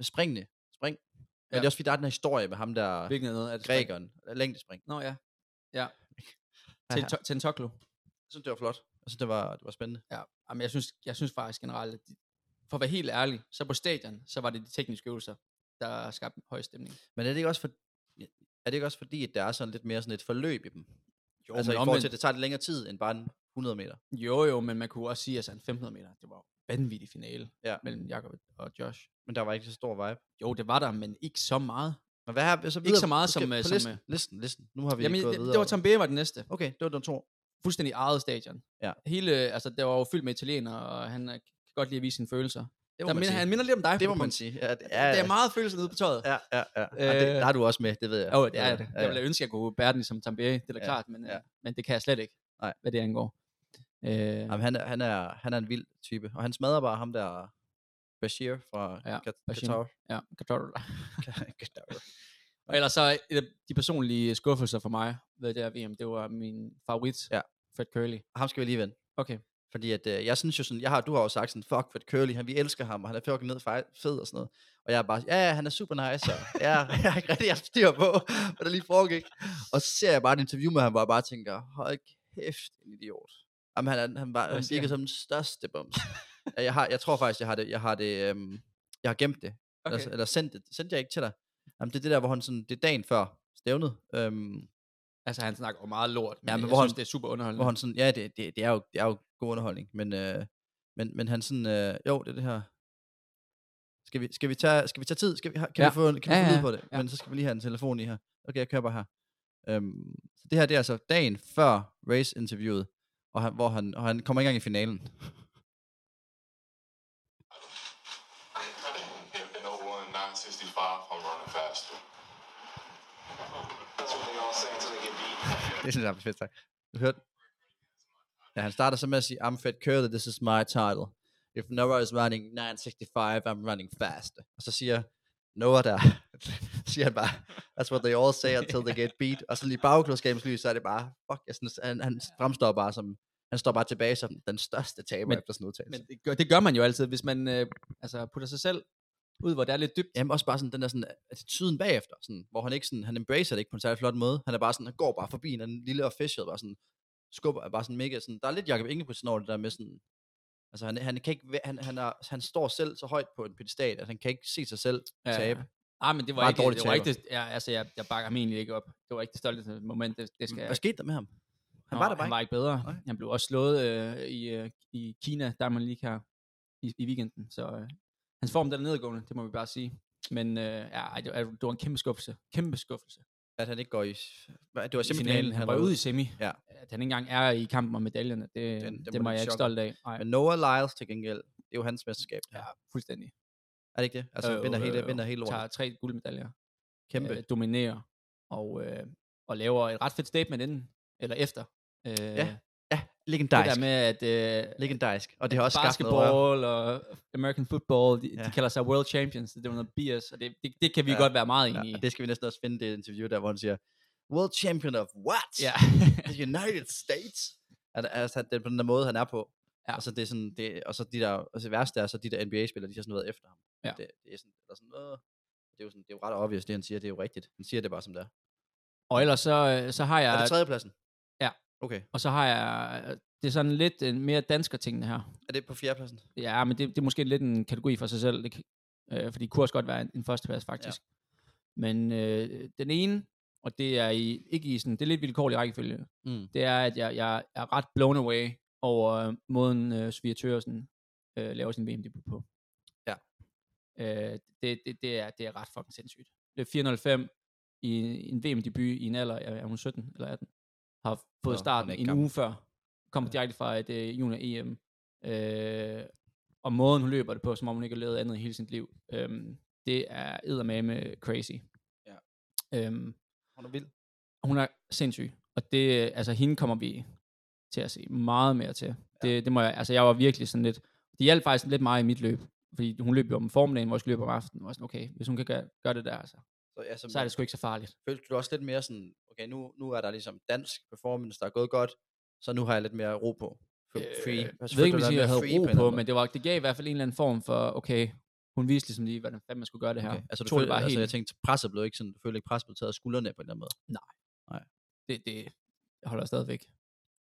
Speaker 4: springende. Spring. Men
Speaker 5: Ja.
Speaker 4: det er også fordi, der er den her historie med ham der,
Speaker 5: Hvilken er noget? Er det
Speaker 4: grækeren, længdespring.
Speaker 5: Nå ja. Ja.
Speaker 4: Ja, ja.
Speaker 5: Tento- Tentoklo.
Speaker 4: Jeg synes, det var flot. Jeg synes, det var, det var spændende.
Speaker 5: Ja. Jamen, jeg synes, jeg synes faktisk generelt, at de, for at være helt ærlig, så på stadion, så var det de tekniske øvelser, der skabte høj stemning.
Speaker 4: Men er det ikke også, for, er det ikke også fordi, at der er sådan lidt mere sådan et forløb i dem?
Speaker 5: Jo,
Speaker 4: altså i forhold til, at det tager lidt længere tid end bare en 100 meter.
Speaker 5: jo, jo, men man kunne også sige, at altså, en 500 meter, det var jo vanvittig finale
Speaker 4: Ja.
Speaker 5: mellem Jakob og Josh.
Speaker 4: Men der var ikke så stor vibe.
Speaker 5: Jo, det var der, men ikke så meget.
Speaker 4: Men hvad har vi så videre?
Speaker 5: så meget
Speaker 4: Du skal
Speaker 5: som, øh,
Speaker 4: på
Speaker 5: som,
Speaker 4: listen,
Speaker 5: øh,
Speaker 4: listen, listen. Nu har vi
Speaker 5: Jamen,
Speaker 4: Jamen, gået
Speaker 5: det,
Speaker 4: videre.
Speaker 5: det var Tamberi var den næste.
Speaker 4: Okay, det var den to.
Speaker 5: Fuldstændig eget stadion.
Speaker 4: Ja.
Speaker 5: Hele, altså, det var jo fyldt med italienere, og han øh, kan godt lide at vise sine følelser.
Speaker 4: Det må
Speaker 5: Der
Speaker 4: man
Speaker 5: minder,
Speaker 4: sige.
Speaker 5: han minder lidt om dig. på
Speaker 4: Det må
Speaker 5: punkt.
Speaker 4: man sige. Ja, det,
Speaker 5: Ja, altså. det er meget følelser nede på tøjet.
Speaker 4: Ja, ja, ja. ja det,
Speaker 5: Øh,
Speaker 4: der er du også med, det ved jeg.
Speaker 5: Jo, det er det.
Speaker 4: Ja,
Speaker 5: Jeg
Speaker 4: ja.
Speaker 5: ville ønske, at jeg kunne bære den ligesom Tamberi, det er da
Speaker 4: Ja,
Speaker 5: klart, men,
Speaker 4: ja.
Speaker 5: ja. men det kan jeg slet ikke,
Speaker 4: Nej.
Speaker 5: hvad det angår. Øh,
Speaker 4: Jamen, han, er, han, er, han er en vild type. Og han smadrer bare ham der Bashir fra
Speaker 5: Ja,
Speaker 4: ja,
Speaker 5: Bashir.
Speaker 4: Qatar.
Speaker 5: ja, godt tror du det.
Speaker 4: Qatar.
Speaker 5: Og ellers så et af de personlige skuffelser for mig ved det her VM, det var min favorit,
Speaker 4: Ja.
Speaker 5: Fred Curly.
Speaker 4: ham skal vi lige vende.
Speaker 5: Okay.
Speaker 4: Fordi at, øh, jeg synes jo sådan, jeg har, du har jo sagt sådan, fuck Fred Curly, han, vi elsker ham, og han er fucking ned fej- fed og sådan noget. Og jeg er bare, ja, ja, han er super nice, og ja, jeg har ikke rigtig haft styr på, hvad der lige foregik. Og så ser jeg bare et interview med ham, hvor jeg bare tænker, hold kæft, en idiot. Jamen, han, er- han, var,
Speaker 5: Hvad
Speaker 4: han
Speaker 5: siger
Speaker 4: virker
Speaker 5: han?
Speaker 4: som den største bums. Ja, jeg, har, jeg tror faktisk, jeg har det, jeg har det, øhm, jeg har gemt det. Okay. Eller, eller sendt det, sendte jeg ikke til dig. Jamen, det er det der, hvor han sådan, det er dagen før stævnet, øhm,
Speaker 5: Altså, han snakker jo meget lort, men,
Speaker 4: Ja,
Speaker 5: ja,
Speaker 4: men
Speaker 5: men jeg
Speaker 4: hvor
Speaker 5: synes,
Speaker 4: han-
Speaker 5: det er super
Speaker 4: hvor
Speaker 5: underholdende.
Speaker 4: han sådan, ja, det, det, det, er, jo, det er jo god underholdning, men, øh, men, men han sådan, øh, jo, det er det her, skal vi, skal vi, tage, skal vi tage tid? Skal vi, har- kan
Speaker 5: Ja.
Speaker 4: ja. vi få, en- kan vi
Speaker 5: Ja,
Speaker 4: få lyd
Speaker 5: ja,
Speaker 4: på det?
Speaker 5: ja.
Speaker 4: Men så skal vi lige have en telefon i her. Okay, jeg kører bare her. Øhm, så det her, det er altså dagen før race-interviewet, og han, hvor han, og han kommer ikke engang i finalen.
Speaker 6: If no one 965 I'm running faster. That's what they all say until they get beat.
Speaker 4: det synes jeg er fedt, tak. Du hørte? Ja, han starter så med at sige, I'm Fed Curly, this is my title. If Noah is running 965, I'm running fast. Og så siger Noah der, siger han bare, that's what they all say until they get beat. Og så lige i bagklodskabens lys, så er det bare, fuck, jeg synes, han, han fremstår bare som, han står bare tilbage som den største taber
Speaker 5: Men-
Speaker 4: efter sådan en udtalelse.
Speaker 5: Men det gør, det gør man jo altid, hvis man øh, altså, putter sig selv ud, hvor der er lidt dybt.
Speaker 4: Jamen også bare sådan den der sådan øh, attituden bagefter, sådan, hvor han ikke sådan, han embracer det ikke på en særlig flot måde. Han er bare sådan, han går bare forbi en anden lille official, bare sådan, skubber, er bare sådan mega sådan, der er lidt Jacob Ingebrigtsen over det der med sådan, altså han, han kan ikke, væ- han, han, er, han står selv så højt på en pedestal, at han kan ikke se sig selv
Speaker 5: Ja.
Speaker 4: tabe.
Speaker 5: Ah, men det var
Speaker 4: Meget
Speaker 5: ikke,
Speaker 4: dårlig
Speaker 5: det var ikke
Speaker 4: taber.
Speaker 5: det, ja, altså, jeg, jeg bakker ham egentlig ikke op. Det var ikke det stolteste moment, det, det skal
Speaker 4: Hvad
Speaker 5: jeg
Speaker 4: skete der med ham? Han var der bare
Speaker 5: han
Speaker 4: ikke.
Speaker 5: var ikke bedre.
Speaker 4: Nej.
Speaker 5: Han blev også slået øh, i, øh, i Kina, Diamond League her i, i weekenden. Så øh, hans form den er nedadgående, det må vi bare sige. Men øh, ja, ej, det, var, det var en kæmpe skuffelse. Kæmpe skuffelse.
Speaker 4: At han ikke går i... Hvad, Det var
Speaker 5: I
Speaker 4: simpelthen
Speaker 5: finalen, han var ude i semi.
Speaker 4: Ja.
Speaker 5: At han ikke engang er i kampen om medaljerne,
Speaker 4: Den-
Speaker 5: det, den,
Speaker 4: den
Speaker 5: det
Speaker 4: var
Speaker 5: var jeg
Speaker 4: lidt
Speaker 5: ikke
Speaker 4: chokker.
Speaker 5: stolt af. Ej,
Speaker 4: Men Noah Lyles til gengæld, det er jo hans mesterskab. Ja.
Speaker 5: ja, fuldstændig.
Speaker 4: Er det ikke det? Altså, øh, vinder,
Speaker 5: Øh,
Speaker 4: hele,
Speaker 5: øh,
Speaker 4: vinder hele lortet.
Speaker 5: Tager tre guldmedaljer.
Speaker 4: Kæmpe.
Speaker 5: øh, dominerer og, øh, og laver et ret fedt statement inden, eller efter. Øh, ja,
Speaker 4: ja,
Speaker 5: det
Speaker 4: legendarisk.
Speaker 5: der med, at øh,
Speaker 4: legendarisk. Og det har også skabt noget røre.
Speaker 5: basketball og American football, de, ja.
Speaker 4: Ja.
Speaker 5: de kalder sig world champions, det er noget BS, og det, det, det kan vi ja.
Speaker 4: Ja,
Speaker 5: godt være meget enige
Speaker 4: Ja,
Speaker 5: ja,
Speaker 4: og det skal vi næsten også finde det interview der, hvor han siger, World Champion of what?
Speaker 5: ja.
Speaker 4: The United States? At, altså, at det er på den der måde, han er på.
Speaker 5: Ja.
Speaker 4: Ja. Og så det er sådan, det, og så de der, og så værst er, så de der NBA-spillere, de har sådan været efter ham.
Speaker 5: Ja.
Speaker 4: Det, det, er sådan, eller sådan noget. Det er jo sådan, det er jo ret obvious, det han siger, det er jo rigtigt. Han siger det bare som det er.
Speaker 5: og ellers så, øh, så har
Speaker 4: Er
Speaker 5: jeg,
Speaker 4: det tredjepladsen?
Speaker 5: Ja.
Speaker 4: Okay.
Speaker 5: og så har jeg, det er sådan lidt øh, mere dansker tingene her.
Speaker 4: Er det på fjerdepladsen?
Speaker 5: Ja, men det, det er måske lidt en kategori for sig selv, det, kan- øh, fordi det kunne også godt være en, en førsteplads faktisk. Ja. Men øh, den ene, og det er i, ikke i sådan, det er lidt vilkårlig rækkefølge,
Speaker 4: Mm.
Speaker 5: det er, at jeg, jeg er ret blown away over øh, måden øh, Sofia Tørsen øh, laver sin VM-debut på.
Speaker 4: Ja.
Speaker 5: Øh, det, det, det, er, det er ret fucking sindssygt. Det er 4.05 i en VM-debut i en alder, er er hun 17 eller 18, har fået
Speaker 4: Nå,
Speaker 5: starten
Speaker 4: hun er
Speaker 5: en
Speaker 4: ikke gammel.
Speaker 5: uge før, kommer direkte fra et øh, junior-EM, øh, og måden hun løber det på, som om hun ikke har lavet andet i hele sit liv, øh, det er eddermame crazy.
Speaker 4: Ja.
Speaker 5: Øh,
Speaker 4: Hun er vild.
Speaker 5: hun er sindssyg. Og det, øh, altså hende kommer vi til at se meget mere til. Ja. Det, det må jeg, altså jeg var virkelig sådan lidt, det hjalp faktisk lidt meget i mit løb. Fordi hun løb jo om formiddagen, hvor jeg skulle løbe om aftenen. Og jeg var sådan, okay, hvis hun kan gøre, gøre det der, altså,
Speaker 4: Så, altså,
Speaker 5: så er det sgu ikke så farligt.
Speaker 4: følte du også lidt mere sådan, okay, nu, nu er der ligesom dansk performance, der er gået godt, så nu har jeg lidt mere ro på. F- Free.
Speaker 5: Øh, jeg
Speaker 4: Altså,
Speaker 5: ved
Speaker 4: følte du
Speaker 5: ikke, om jeg
Speaker 4: dig
Speaker 5: siger, jeg
Speaker 4: mere free en
Speaker 5: havde ro på,
Speaker 4: eller anden
Speaker 5: men det, var, det gav i hvert fald en eller anden form for, okay, hun viste ligesom lige, hvordan fanden man skulle gøre det her.
Speaker 4: måde? Okay. Altså, du
Speaker 5: Tog det
Speaker 4: følte, bare altså,
Speaker 5: helt-
Speaker 4: jeg tænkte, presset blev ikke sådan, du følte ikke presset blev taget af skuldrene på en eller anden måde.
Speaker 5: det, det jeg holder stadigvæk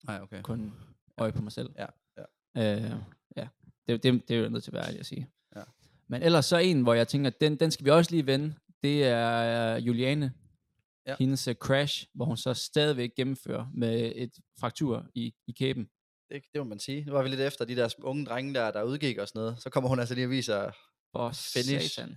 Speaker 4: Nej, okay.
Speaker 5: kun øje på mig selv.
Speaker 4: Ja, ja.
Speaker 5: Øh, ja. Det, det, det er jo nødt til at være ærlig at sige.
Speaker 4: Ja.
Speaker 5: Men ellers så en, hvor jeg tænker, den, den skal vi også lige vende, det er øh, Juliane.
Speaker 4: Ja.
Speaker 5: Hendes øh, crash, hvor hun så stadigvæk gennemfører med et fraktur i, i kæben.
Speaker 4: Det, det må man sige. Nu var vi lidt efter de der unge drenge, der, der udgik og sådan noget. Så kommer hun altså lige og viser,
Speaker 5: For
Speaker 4: Finish.
Speaker 5: satan.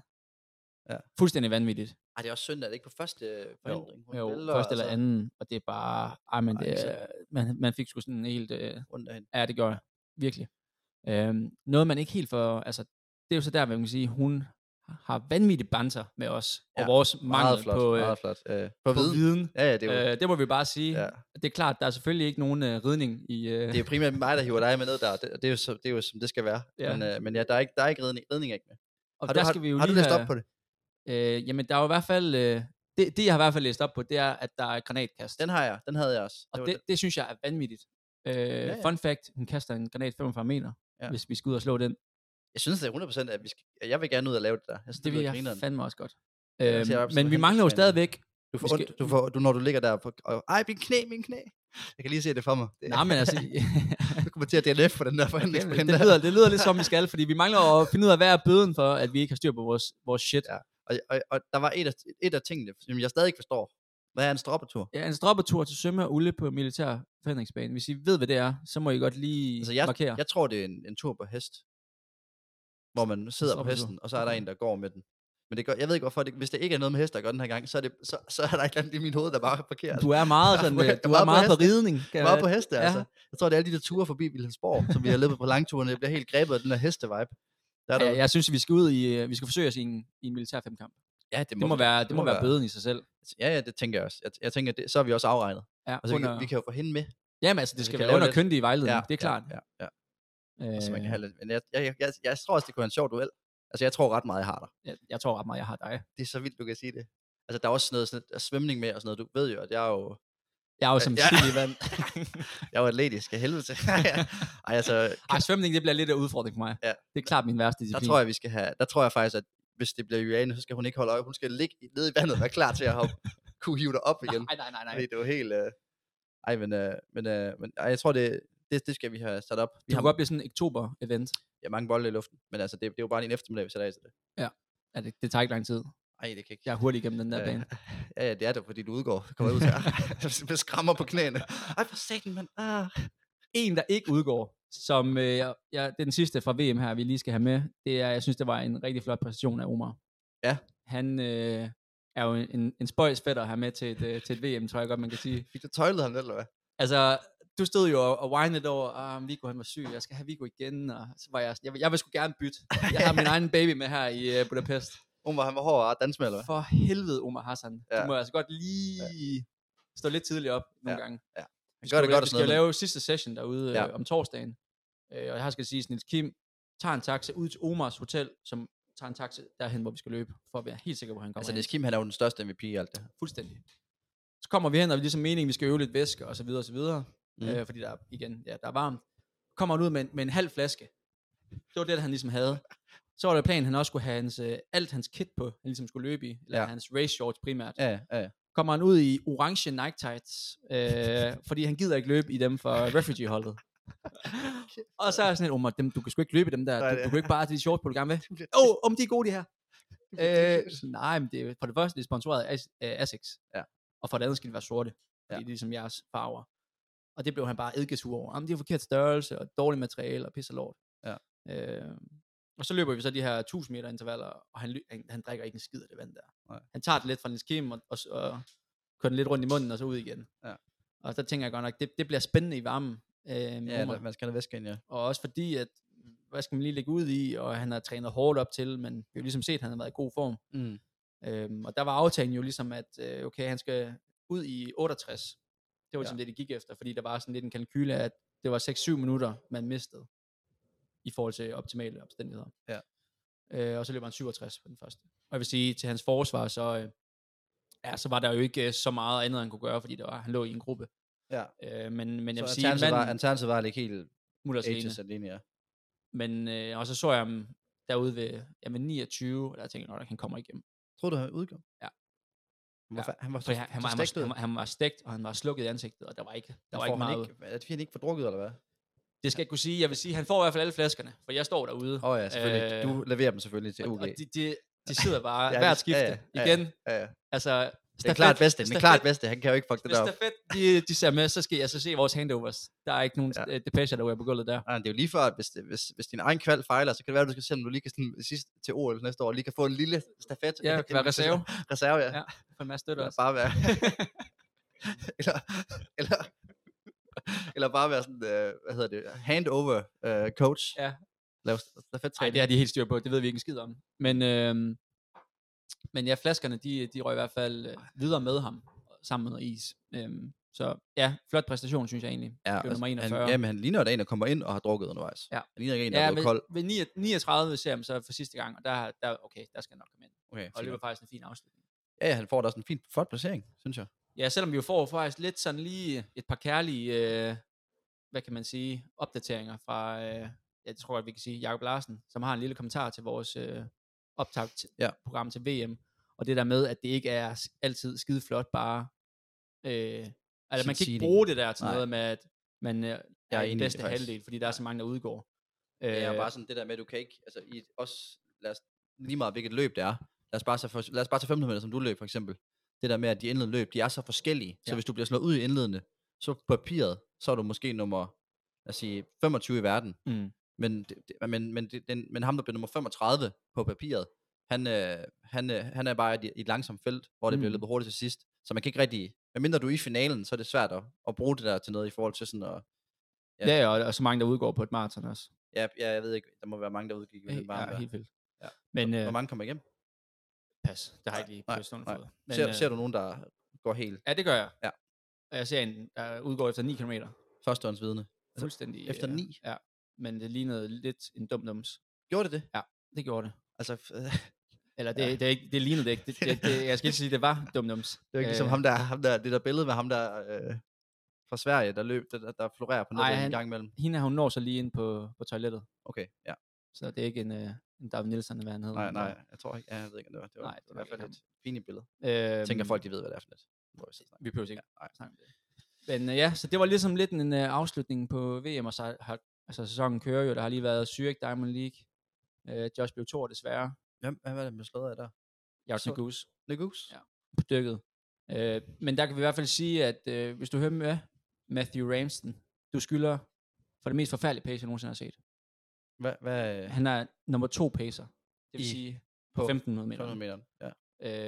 Speaker 4: Ja.
Speaker 5: Fuldstændig vanvindligt.
Speaker 4: at det er også synd, at det ikke på første forhindring. Hun
Speaker 5: jo,
Speaker 4: vælter,
Speaker 5: først eller
Speaker 4: altså,
Speaker 5: anden, og det er bare, ej, men
Speaker 4: Ej, altså-
Speaker 5: det,
Speaker 4: så-
Speaker 5: er- man, man fik sgu sådan en helt, øh,
Speaker 4: Rundt af hende.
Speaker 5: Ja, det gør jeg. Virkelig. Øhm, noget, man ikke helt får... Altså, det er jo så der, hvor man kan sige, hun har vanvittigt banter med os, og
Speaker 4: Ja,
Speaker 5: vores
Speaker 4: Meget
Speaker 5: mangel
Speaker 4: flot,
Speaker 5: på, øh,
Speaker 4: meget flot. Øh,
Speaker 5: på viden. viden.
Speaker 4: Ja, ja, det er jo, øh,
Speaker 5: Øh, det må vi bare sige.
Speaker 4: ja.
Speaker 5: Det er klart, der er selvfølgelig ikke nogen øh, ridning i... Øh,
Speaker 4: Det er jo primært mig, der hiver dig med ned der, og det, og det, er, jo, så, det er jo, som det skal være.
Speaker 5: Ja.
Speaker 4: Ja. Men, øh, men ja, der er ikke, der er ikke redning, redning er ikke med.
Speaker 5: og
Speaker 4: har du, har, har du
Speaker 5: lige
Speaker 4: læst
Speaker 5: have-
Speaker 4: op på det?
Speaker 5: Øh, jamen, der er jo i hvert fald... Øh, det, det, jeg har i hvert fald læst op på, det er, at der er granatkast.
Speaker 4: Den har jeg, den havde jeg også.
Speaker 5: og
Speaker 4: var
Speaker 5: det, det, synes jeg er vanvittigt. Øh, ja,
Speaker 4: ja.
Speaker 5: Fun fact, hun kaster en granat 45 meter, ja.
Speaker 4: Ja.
Speaker 5: hvis vi skal ud og slå den.
Speaker 4: Jeg synes, det er 100%, at vi skal, at jeg vil gerne ud og lave det der. Jeg synes,
Speaker 5: Det vil
Speaker 4: lyder
Speaker 5: jeg
Speaker 4: grineren.
Speaker 5: fandme også godt.
Speaker 4: jeg
Speaker 5: Øh,
Speaker 4: op som
Speaker 5: men
Speaker 4: en
Speaker 5: vi mangler jo
Speaker 4: handelsmand.
Speaker 5: stadigvæk
Speaker 4: Du får
Speaker 5: vi skal-
Speaker 4: ondt, du får, du, når du ligger der på, og, ej, min knæ, min knæ. Jeg kan lige se det for mig. Det,
Speaker 5: Nej, men altså,
Speaker 4: du kommer til at DNF på den der forhandling.
Speaker 5: det, det, lyder, det lyder lidt som, vi skal, fordi vi mangler at finde ud af, hvad er bøden for, at vi ikke har styr på vores, vores shit.
Speaker 4: Ja. Og, og, og, der var et af, et af tingene, som jeg stadig ikke forstår. Hvad er en stroppetur?
Speaker 5: Ja, en stroppertur til Sømme og Ulle på militær forhindringsbane. Hvis I ved, hvad det er, så må I godt lige
Speaker 4: Altså, jeg,
Speaker 5: markere.
Speaker 4: jeg tror, det er en, en tur på hest. Hvor man sidder på
Speaker 5: stroppetur.
Speaker 4: hesten, og så er der
Speaker 5: Okay.
Speaker 4: en, der går med den. Men det gør, jeg ved ikke, hvorfor det, hvis det ikke er noget med hest, der gør den her gang, så er, det, så, så er der ikke andet i mit hoved, der bare er parkeret.
Speaker 5: du er meget,
Speaker 4: Jeg er
Speaker 5: sådan, øh,
Speaker 4: meget-
Speaker 5: du er
Speaker 4: meget på
Speaker 5: meget på
Speaker 4: heste.
Speaker 5: ridning. Kan
Speaker 4: Ja, meget på heste,
Speaker 5: ja.
Speaker 4: ja. altså. Jeg tror, det er alle de der ture forbi Vilhelmsborg, som vi har løbet på langturene. Jeg bliver helt grebet af den der heste-vibe. Der er
Speaker 5: Ja,
Speaker 4: der,
Speaker 5: jeg synes, vi skal ud i, øh, vi skal forsøge os i en, i en militær femkamp.
Speaker 4: ja,
Speaker 5: Det må,
Speaker 4: vi da.
Speaker 5: være, det må være bøden i sig selv.
Speaker 4: Ja, ja, det tænker jeg også. Jeg, jeg tænker, det, så er vi også afregnet.
Speaker 5: Ja,
Speaker 4: Altså, vi,
Speaker 5: under,
Speaker 4: kan- vi kan jo få hende med.
Speaker 5: jamen, altså, det
Speaker 4: vi
Speaker 5: skal
Speaker 4: kan
Speaker 5: være
Speaker 4: lave
Speaker 5: under
Speaker 4: lidt-
Speaker 5: køndig vejledning, det er klart.
Speaker 4: Ja, ja, ja.
Speaker 5: Øh,
Speaker 4: Altså, man kan have lidt, men jeg, jeg, jeg, jeg, tror også, det kunne være en sjov duel. Altså, jeg tror ret meget, jeg har dig.
Speaker 5: jeg, jeg tror ret meget, jeg har dig.
Speaker 4: Det er så vildt, du kan sige det. Altså, der er også sådan noget sådan, lidt svømning med og sådan noget. Du ved jo, at jeg er jo,
Speaker 5: Jeg er jo som
Speaker 4: Ja.
Speaker 5: skidt i vand.
Speaker 4: jeg er jo atletisk af helvede til. Ej, altså,
Speaker 5: Ej, svømning, det bliver lidt af udfordring for mig.
Speaker 4: Ja.
Speaker 5: Det er klart min værste
Speaker 4: der
Speaker 5: disciplin.
Speaker 4: tror jeg, vi skal have, der tror jeg faktisk, at hvis det bliver Juliane, så skal hun ikke holde øje. Hun skal ligge i- nede i vandet og være klar til at hoppe, kunne hive dig op igen.
Speaker 5: Nej, nej, nej, nej.
Speaker 4: Fordi det var helt... Øh... Ej, men, øh, men, øh, men ej, jeg tror, det, det, det skal vi have sat op. Vi
Speaker 5: Det
Speaker 4: har
Speaker 5: kunne godt blive sådan en oktober-event.
Speaker 4: ja, mange bolde i luften, men altså, det, det er jo bare en eftermiddag, vi sætter af til det.
Speaker 5: Ja, det, det tager ikke lang tid.
Speaker 4: Ej, det kan ikke.
Speaker 5: Jeg er hurtig igennem den der
Speaker 4: Øh,
Speaker 5: bane.
Speaker 4: Ja, ja, det er det, fordi du udgår. Kommer ud til, ah, jeg skrammer på knæene. Ej, for satan, mand. Ah.
Speaker 5: En, der ikke udgår, som øh, jeg, jeg, det er den sidste fra VM her, vi lige skal have med, det er, jeg synes, det var en rigtig flot præstation af Omar.
Speaker 4: Ja.
Speaker 5: Han øh, er jo en, en spøjs fætter her med til et, øh, til et VM, tror jeg godt, man kan sige.
Speaker 4: Fik du tøjlet ham, eller hvad?
Speaker 5: Altså, du stod jo og- og whinede over, at ah, Viggo han var syg, jeg skal have Viggo igen, og så var jeg, sådan, jeg, vil- jeg vil sgu gerne bytte. Jeg har min egen baby med her i øh, Budapest.
Speaker 4: Omar, han var hård og danse med, eller hvad?
Speaker 5: For helvede, Omar Hassan. Ja.
Speaker 4: Ja.
Speaker 5: Du må altså godt lige ja. stå lidt tidligt op nogle
Speaker 4: Ja.
Speaker 5: gange.
Speaker 4: Han gør det godt og sådan
Speaker 5: Vi skal jo
Speaker 4: noget.
Speaker 5: lave sidste session derude ja.
Speaker 4: Ja.
Speaker 5: øh, om torsdagen. Øh, og her skal det siges, Nils Kim tager en taxa ud til Omars Hotel, som tager en taxa derhen, hvor vi skal løbe, for at være helt sikker på, at han
Speaker 4: men-
Speaker 5: kommer
Speaker 4: Altså,
Speaker 5: hen.
Speaker 4: Niels Kim, han er jo den største MVP i alt det her.
Speaker 5: Fuldstændig. Så kommer vi hen, og vi er ligesom meningen, vi skal øve lidt væske, og så videre, og så videre. Mm.
Speaker 4: Mm.
Speaker 5: Øh, fordi der er, igen, ja, der er varmt. Kommer han ud med en, med en halv flaske. Det var det, han ligesom havde. Så var det planen, at han også skulle have hans, øh, alt hans kit på, han ligesom skulle løbe i, eller ja.
Speaker 4: Ja.
Speaker 5: hans race shorts primært. Ja.
Speaker 4: Ja, ja, ja.
Speaker 5: Kommer han ud i orange Nike tights, øh, fordi han gider ikke løbe i dem for refugee-holdet. og så er jeg sådan lidt, Omar, dem, du kan sgu ikke løbe i dem der,
Speaker 4: Nej,
Speaker 5: du,
Speaker 4: det-
Speaker 5: du kan ikke bare have de shorts på, du gerne vil. Åh, oh, om de er gode, de her. Øh, nej, men det er, for det første, det er sponsoreret af As- af Asics.
Speaker 4: Ja.
Speaker 5: Og for det andet skal de være sorte. Fordi
Speaker 4: Ja.
Speaker 5: det er ligesom jeres farver. Og det blev han bare eddikesur over. Jamen, de har forkert størrelse, og dårligt materiale, og pisser lort.
Speaker 4: Ja.
Speaker 5: Øh, og så løber vi så de her 1000 meter intervaller, og han, ly- han, han drikker ikke en skid af det vand der.
Speaker 4: Nej.
Speaker 5: Han tager det lidt fra Niels Kim, og, og, og kører den lidt rundt i munden, og så ud igen.
Speaker 4: Ja.
Speaker 5: Og så tænker jeg godt nok, det, det bliver spændende i varmen. Øh, med
Speaker 4: Ja,
Speaker 5: Omar.
Speaker 4: der- man skal have væske ind, ja.
Speaker 5: Og også fordi, at hvad skal man lige lægge ud i, og han har trænet hårdt op til, men vi har jo ligesom set, at han har været i god form.
Speaker 4: Mm.
Speaker 5: Øhm, og der var aftalen jo ligesom, at øh, okay, han skal ud i 68. Det var ligesom ja. det, det gik efter, fordi der var sådan lidt en kalkyle af, at det var 6-7 minutter, man mistede i forhold til optimale omstændigheder.
Speaker 4: Ja.
Speaker 5: Øh, og så løber han 67 på den første. Og jeg vil sige, til hans forsvar, så, øh, ja, så var der jo ikke øh, så meget andet, han kunne gøre, fordi det var, han lå i en gruppe.
Speaker 4: Ja.
Speaker 5: Øh, men, men jeg
Speaker 4: Så
Speaker 5: vil sige,
Speaker 4: alternativet var,
Speaker 5: manden
Speaker 4: alternativet var at ligge helt
Speaker 5: mutter sig alene.
Speaker 4: ages alene, ja.
Speaker 5: Men, øh, og så så jeg ham derude ved, ja, ved 29, og der tænkte jeg, at han kommer igennem.
Speaker 4: Tror du, han udgjorde?
Speaker 5: Ja.
Speaker 4: Han var,
Speaker 5: Ja.
Speaker 4: fa- han var,
Speaker 5: For han, han, var, han,
Speaker 4: stegt
Speaker 5: var,
Speaker 4: ud.
Speaker 5: han, var, han var stegt, og han var slukket i ansigtet, og der var ikke, der
Speaker 4: Men
Speaker 5: var
Speaker 4: får
Speaker 5: ikke
Speaker 4: han
Speaker 5: meget.
Speaker 4: ikke, er det fordi, han ikke får drukket, ud, eller hvad?
Speaker 5: Det skal jeg ikke kunne sige. Jeg vil sige, han får i hvert fald alle flaskerne, for jeg står derude.
Speaker 4: Åh oh, ja, selvfølgelig. Øh, du leverer dem selvfølgelig til
Speaker 5: og,
Speaker 4: UG.
Speaker 5: og de, de, de sidder bare
Speaker 4: Ja,
Speaker 5: ja,
Speaker 4: det-
Speaker 5: hvert skifte.
Speaker 4: ja, ja, ja,
Speaker 5: Igen,
Speaker 4: ja, ja.
Speaker 5: altså...
Speaker 4: Det er klart bedste, det er klart bedste. Han kan jo ikke fuck det
Speaker 5: Hvis
Speaker 4: der op.
Speaker 5: stafet, de, de ser med, så skal jeg så se vores handovers. Der er ikke nogen
Speaker 4: Ja.
Speaker 5: ja. depeche, der er på gulvet der.
Speaker 4: Nej, Ah, det er jo lige før, at hvis, det, hvis, hvis din egen kval fejler, så kan det være, at du skal se, om du lige kan sådan, sidst til OL næste år, lige kan få en lille stafet.
Speaker 5: Ja, det kan være reserve
Speaker 4: reserve, ja.
Speaker 5: Ja, for en masse støtter
Speaker 4: Eller
Speaker 5: også.
Speaker 4: bare være... eller, eller, eller bare være sådan, øh, hvad hedder det, handover øh, coach.
Speaker 5: Ja.
Speaker 4: Lav stafet
Speaker 5: Nej, det har de helt styr på. Det ved vi ikke en skid om. Men, øh, men ja, flaskerne, de, de røg i hvert fald øh, videre med ham, sammen med noget is. Øh, så ja, flot præstation, synes jeg egentlig.
Speaker 4: Ja, altså,
Speaker 5: det var nummer
Speaker 4: han,
Speaker 5: 41.
Speaker 4: ja, men han ligner jo da en, der kommer ind og har drukket undervejs.
Speaker 5: Ja.
Speaker 4: Han ligner ikke en, der
Speaker 5: ja
Speaker 4: er blevet kold.
Speaker 5: ved 9 39 ser jeg ham så for sidste gang, og der, der, okay, der skal han nok komme ind.
Speaker 4: Okay,
Speaker 5: Og det var
Speaker 4: fint.
Speaker 5: faktisk en fin afslutning.
Speaker 4: ja, ja, han får da også en fin, flot placering, synes jeg.
Speaker 5: Ja, selvom vi jo får faktisk lidt sådan lige et par kærlige, øh, hvad kan man sige, opdateringer fra, øh, jeg tror godt, vi kan sige, Jakob Larsen, som har en lille kommentar til vores øh,
Speaker 4: Ja.
Speaker 5: optagtprogram ja. til VM, og det der med, at det ikke er s- altid skide flot bare, øh, altså man kan ikke
Speaker 4: Seeding.
Speaker 5: bruge det der til
Speaker 4: Nej.
Speaker 5: noget med, at man øh, er
Speaker 4: er
Speaker 5: i den
Speaker 4: enig,
Speaker 5: bedste
Speaker 4: faktisk.
Speaker 5: halvdel, fordi der er så mange, der udgår.
Speaker 4: Det er
Speaker 5: Øh,
Speaker 4: bare sådan det der med, at du kan ikke, altså i, også, lad os, lige meget hvilket løb det er, lad os bare tage, for, lad os bare tage 500 meter, som du løb for eksempel. Det der med, at de indledende løb, de er så forskellige, ja.
Speaker 5: Ja.
Speaker 4: så hvis du bliver slået ud i indledende, så på papiret, så er du måske nummer, lad os sige, 25 i verden,
Speaker 5: mm,
Speaker 4: men, det, det- men, men, det, den, men ham, der bliver nummer 35 på papiret, han, øh, han, øh, han er bare i et- i et langsomt felt, hvor det mm. bliver
Speaker 5: Mm.
Speaker 4: løbet hurtigt til sidst. Så man kan ikke rigtig, medmindre du er i finalen, så er det svært at, at bruge det der til noget i forhold til sådan at,
Speaker 5: ja, ja og, og så mange, der udgår på et maraton også.
Speaker 4: ja, ja jeg ved ikke, der må være mange, der udgik. i
Speaker 5: Helt,
Speaker 4: det varme
Speaker 5: Øh, ja,
Speaker 4: vejr.
Speaker 5: helt vildt.
Speaker 4: Ja.
Speaker 5: Men øh,
Speaker 4: Hvor mange kommer igennem?
Speaker 5: pas, det har jeg ikke lige
Speaker 4: Nej,
Speaker 5: på stående
Speaker 4: nej.
Speaker 5: fod.
Speaker 4: Men,
Speaker 5: Men,
Speaker 4: ser, øh, ser du nogen, der går helt
Speaker 5: Ja, det gør jeg.
Speaker 4: Ja.
Speaker 5: Og jeg ser en, der udgår efter 9 km.
Speaker 4: førstehåndsvidende?
Speaker 5: Fuldstændig.
Speaker 4: Altså, efter
Speaker 5: øh,
Speaker 4: ni?
Speaker 5: Ja, men det lignede lidt en dum dums.
Speaker 4: Gjorde det det?
Speaker 5: Det gjorde det.
Speaker 4: Altså, øh,
Speaker 5: Eller det,
Speaker 4: Ja.
Speaker 5: ja. det, er ikke, det lignede det ikke. Det, det, det, jeg skal ikke sige, det var Øh, dum dums.
Speaker 4: det var ikke ligesom ham der, ham der, det der billede med ham der øh, fra Sverige, der løb, der, der florerer på
Speaker 5: Ej,
Speaker 4: nettet
Speaker 5: han-
Speaker 4: en gang imellem.
Speaker 5: Hende her, hun når så lige ind på, på toilettet.
Speaker 4: Okay, ja.
Speaker 5: Så det er ikke en, øh, end David Nielsen, eller hvad han hedder.
Speaker 4: Nej, nej, jeg tror ikke, ja, jeg ved ikke, om det var. Det var,
Speaker 5: Nej,
Speaker 4: nej,
Speaker 5: det
Speaker 4: det var
Speaker 5: var
Speaker 4: i hvert
Speaker 5: ikke
Speaker 4: fald et fint billede.
Speaker 5: Øhm,
Speaker 4: Jeg tænker folk, de ved, hvad det er for lidt. Må vi så snakke.
Speaker 5: Vi behøver ikke
Speaker 4: nej.
Speaker 5: ja. snakke om det. Men øh, ja, så det var ligesom lidt en øh, afslutning på VM, og så har altså, sæsonen kører jo. Der har lige været Zürich Diamond League. Øh, Josh blev to desværre.
Speaker 4: Hvem, hvad var det, man slået af der?
Speaker 5: Jartsen
Speaker 4: Så-
Speaker 5: Goose
Speaker 4: Negus?
Speaker 5: Ja. på dykket. Øh, men der kan vi i hvert fald sige, at øh, hvis du hører med Matthew Ramsden, du skylder for det mest forfærdelige pace, jeg nogensinde har set.
Speaker 4: Hvad, hvad
Speaker 5: Han er nummer to pacer. Det vil
Speaker 4: I-
Speaker 5: sige
Speaker 4: på
Speaker 5: 1500 meter.
Speaker 4: 200 meter? Ja.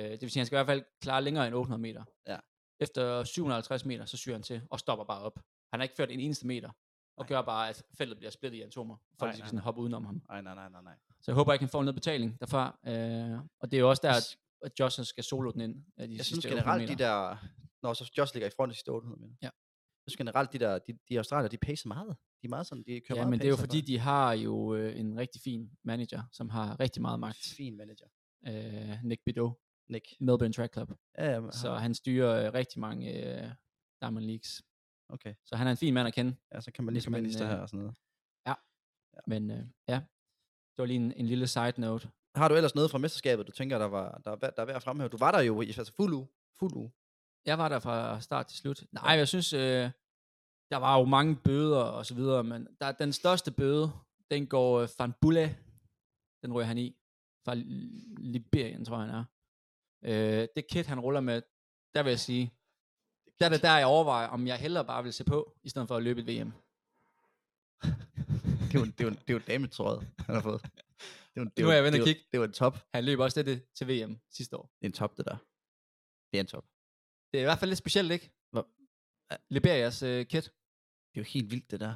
Speaker 5: Øh, det vil sige, at han skal i hvert fald klare længere end 800 meter.
Speaker 4: Ja.
Speaker 5: Efter 750 meter, så syr han til og stopper bare op. Han har ikke ført en eneste meter, og gør bare, at feltet bliver splittet i atomer. Folk
Speaker 4: Nej,
Speaker 5: de skal
Speaker 4: nej,
Speaker 5: sådan hoppe udenom ham.
Speaker 4: Nej, nej, nej, nej, nej.
Speaker 5: Så jeg håber ikke, han får noget betaling derfra. Øh, og det er jo også der, at- at Johnson skal solo den ind. Af de
Speaker 4: Jeg
Speaker 5: sidste
Speaker 4: synes
Speaker 5: 800
Speaker 4: generelt,
Speaker 5: meter.
Speaker 4: de der... Nå, så Josh ligger i front af sidste 800 meter.
Speaker 5: Ja.
Speaker 4: Jeg synes generelt, de der, de, de australier, de pacer meget. De er meget sådan, de kører
Speaker 5: Ja,
Speaker 4: meget
Speaker 5: men det er jo
Speaker 4: pace
Speaker 5: fordi,
Speaker 4: derfra.
Speaker 5: de har jo øh, en rigtig fin manager, som har rigtig meget magt.
Speaker 4: Fin manager.
Speaker 5: Øh, Nick Bidot,
Speaker 4: Nick.
Speaker 5: Melbourne Track Club.
Speaker 4: Ja, ja, men-
Speaker 5: Så han styrer øh, rigtig mange øh, Diamond Leagues.
Speaker 4: ah, okay.
Speaker 5: Så han er en fin mand at kende.
Speaker 4: Ja, så kan man lige
Speaker 5: Hvis
Speaker 4: komme ind i
Speaker 5: man,
Speaker 4: det
Speaker 5: øh,
Speaker 4: her og sådan noget.
Speaker 5: Men øh, ja, det var lige en, en lille side note.
Speaker 4: Har du ellers noget fra mesterskabet, du tænker, der, var, der, er værd- der er værd at fremhæve? Du var der jo i altså fuld uge. Fuld uge.
Speaker 5: Jeg var der fra start til slut. Nej, jeg synes, øh, der var jo mange bøder og så videre, men der, er den største bøde, den går øh, Van Bulle, den rører han i, fra Li- Liberien, tror jeg han er. Øh, det kit, han ruller med, der vil jeg sige, der er det der, jeg overvejer, om jeg hellere bare vil se på, i stedet for at løbe et VM.
Speaker 4: Det er jo, det er jo, det er jo dametrøjet, han har fået. Det er jo, det
Speaker 5: Nu er jeg ved
Speaker 4: det
Speaker 5: at
Speaker 4: jo-
Speaker 5: kigge.
Speaker 4: Det var en top.
Speaker 5: Han løb også det til VM sidste år.
Speaker 4: Det er en top, det der. Det er en top.
Speaker 5: Det er i hvert fald lidt specielt, ikke?
Speaker 4: Hvor-
Speaker 5: Liberias øh, kit.
Speaker 4: Det er jo helt vildt, det der.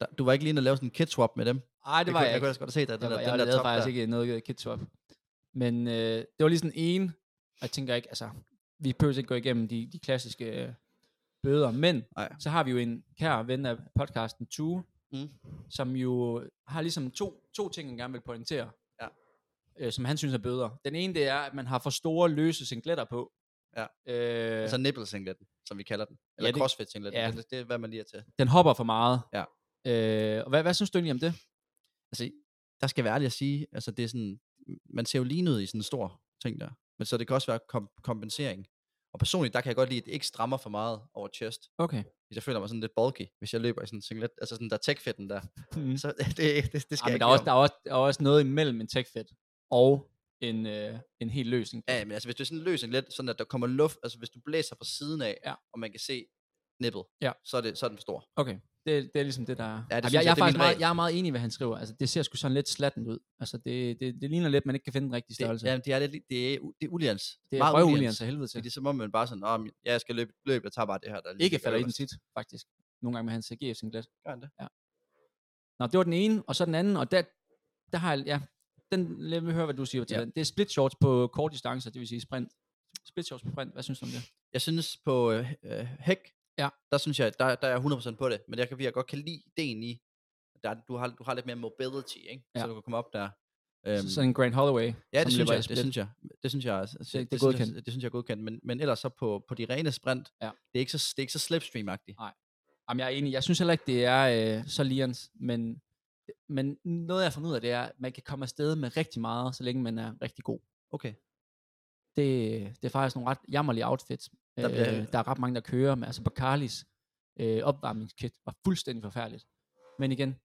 Speaker 4: der du var ikke lige inde og lave sådan en kid swap med dem. Det,
Speaker 5: Ej, det var
Speaker 4: kunne,
Speaker 5: jeg
Speaker 4: jeg
Speaker 5: ikke.
Speaker 4: kunne ellers godt se dig. Den
Speaker 5: Jeg,
Speaker 4: der,
Speaker 5: var- jeg
Speaker 4: den der
Speaker 5: lavede
Speaker 4: top
Speaker 5: faktisk
Speaker 4: der.
Speaker 5: ikke noget kitswap. Men øh, det var lige sådan en, og jeg tænker ikke, altså, vi behøver ikke gå igennem de, de klassiske øh, bøder, men
Speaker 4: Nej.
Speaker 5: så har vi jo en kær ven af podcasten, Tue,
Speaker 4: Mm.
Speaker 5: som jo har ligesom to, to ting, han gerne vil pointere,
Speaker 4: Ja.
Speaker 5: øh, som han synes er bøder. Den ene, det er, at man har for store løse singletter på.
Speaker 4: Ja.
Speaker 5: Øh,
Speaker 4: Altså nipple-singletten, som vi kalder den. Eller
Speaker 5: det-
Speaker 4: crossfit-singletten.
Speaker 5: ja.
Speaker 4: Ja. Det, det er, hvad man lige er til.
Speaker 5: den hopper for meget.
Speaker 4: Ja.
Speaker 5: Øh, og hvad, hvad synes du egentlig om det?
Speaker 4: Altså, der skal jeg være ærlig at sige, altså det er sådan, man ser jo lige ud i sådan en stor ting der. Men så det kan også være kom- kompensering. Og personligt, der kan jeg godt lide, at det ikke strammer for meget over chest.
Speaker 5: Okay.
Speaker 4: Hvis jeg føler mig sådan lidt bulky, hvis jeg løber i sådan en singlet, altså sådan der tech der. Mhm.
Speaker 5: Mm.
Speaker 4: Så det, det, det skal
Speaker 5: Ej,
Speaker 4: jeg
Speaker 5: men
Speaker 4: ikke
Speaker 5: der er, også,
Speaker 4: om.
Speaker 5: der, er også, der er også noget imellem en tech-fit og en, øh, en helt løsning.
Speaker 4: Ja, men altså hvis du sådan løser lidt, sådan at der kommer luft, altså hvis du blæser fra siden af,
Speaker 5: Ja.
Speaker 4: og man kan se nippet,
Speaker 5: Ja.
Speaker 4: så, er det, så er den stor.
Speaker 5: Okay, det, det er ligesom det, der... Ja,
Speaker 4: synes jeg,
Speaker 5: jeg, jeg, er
Speaker 4: det er
Speaker 5: faktisk
Speaker 4: min
Speaker 5: meget,
Speaker 4: regel.
Speaker 5: jeg er meget enig i, hvad han skriver. Altså, det ser sgu sådan lidt slatten ud. Altså, det, det, det ligner lidt, man ikke kan finde den rigtige
Speaker 4: Det,
Speaker 5: størrelse.
Speaker 4: ja, det er, lidt, det er, u- det er ulians.
Speaker 5: det er
Speaker 4: Meget
Speaker 5: røvulians af helvede til.
Speaker 4: Fordi så må man bare sådan, oh, jeg skal løbe, løbe, jeg tager bare det her. Der lige
Speaker 5: Ikke
Speaker 4: ligger
Speaker 5: falder i den
Speaker 4: øverst."
Speaker 5: tit, faktisk. Nogle gange med hans GF singlet.
Speaker 4: Gør han det?
Speaker 5: Nå, det var den ene, og så den anden, og der, der har jeg... Ja, den, lad mig høre, hvad du siger til
Speaker 4: Ja.
Speaker 5: den. Det er split shorts på kort distance, det vil sige sprint. Split shorts på sprint, hvad synes du om det?
Speaker 4: Jeg synes på øh, øh, hæk,
Speaker 5: Ja.
Speaker 4: der synes jeg, der, der er jeg 100% på det. Men jeg kan virkelig godt kan lide ideen i, at der, du, har, du har lidt mere mobility, ikke?
Speaker 5: Ja.
Speaker 4: så du kan komme op der.
Speaker 5: Øhm, sådan en Grand Holloway.
Speaker 4: Ja,
Speaker 5: som
Speaker 4: det synes,
Speaker 5: løber i
Speaker 4: jeg, det
Speaker 5: split.
Speaker 4: synes jeg. Det synes jeg, altså,
Speaker 5: det er
Speaker 4: synes jeg,
Speaker 5: godkendt.
Speaker 4: det synes jeg er godkendt. Men, men ellers så på, på de rene sprint,
Speaker 5: Ja.
Speaker 4: det, er ikke så, det er ikke så slipstream-agtigt.
Speaker 5: Jamen, jeg er enig. Jeg synes heller ikke, det er øh, så lians, men, men noget, jeg har fundet ud af, det er, at man kan komme afsted med rigtig meget, så længe man er rigtig god.
Speaker 4: Okay.
Speaker 5: Det, det er faktisk nogle ret jammerlige outfits.
Speaker 4: Der
Speaker 5: Der,
Speaker 4: bliver-
Speaker 5: øh, der er ret mange, der kører med. Altså, Bacarlis øh, opvarmningskit var fuldstændig forfærdeligt. Men igen, det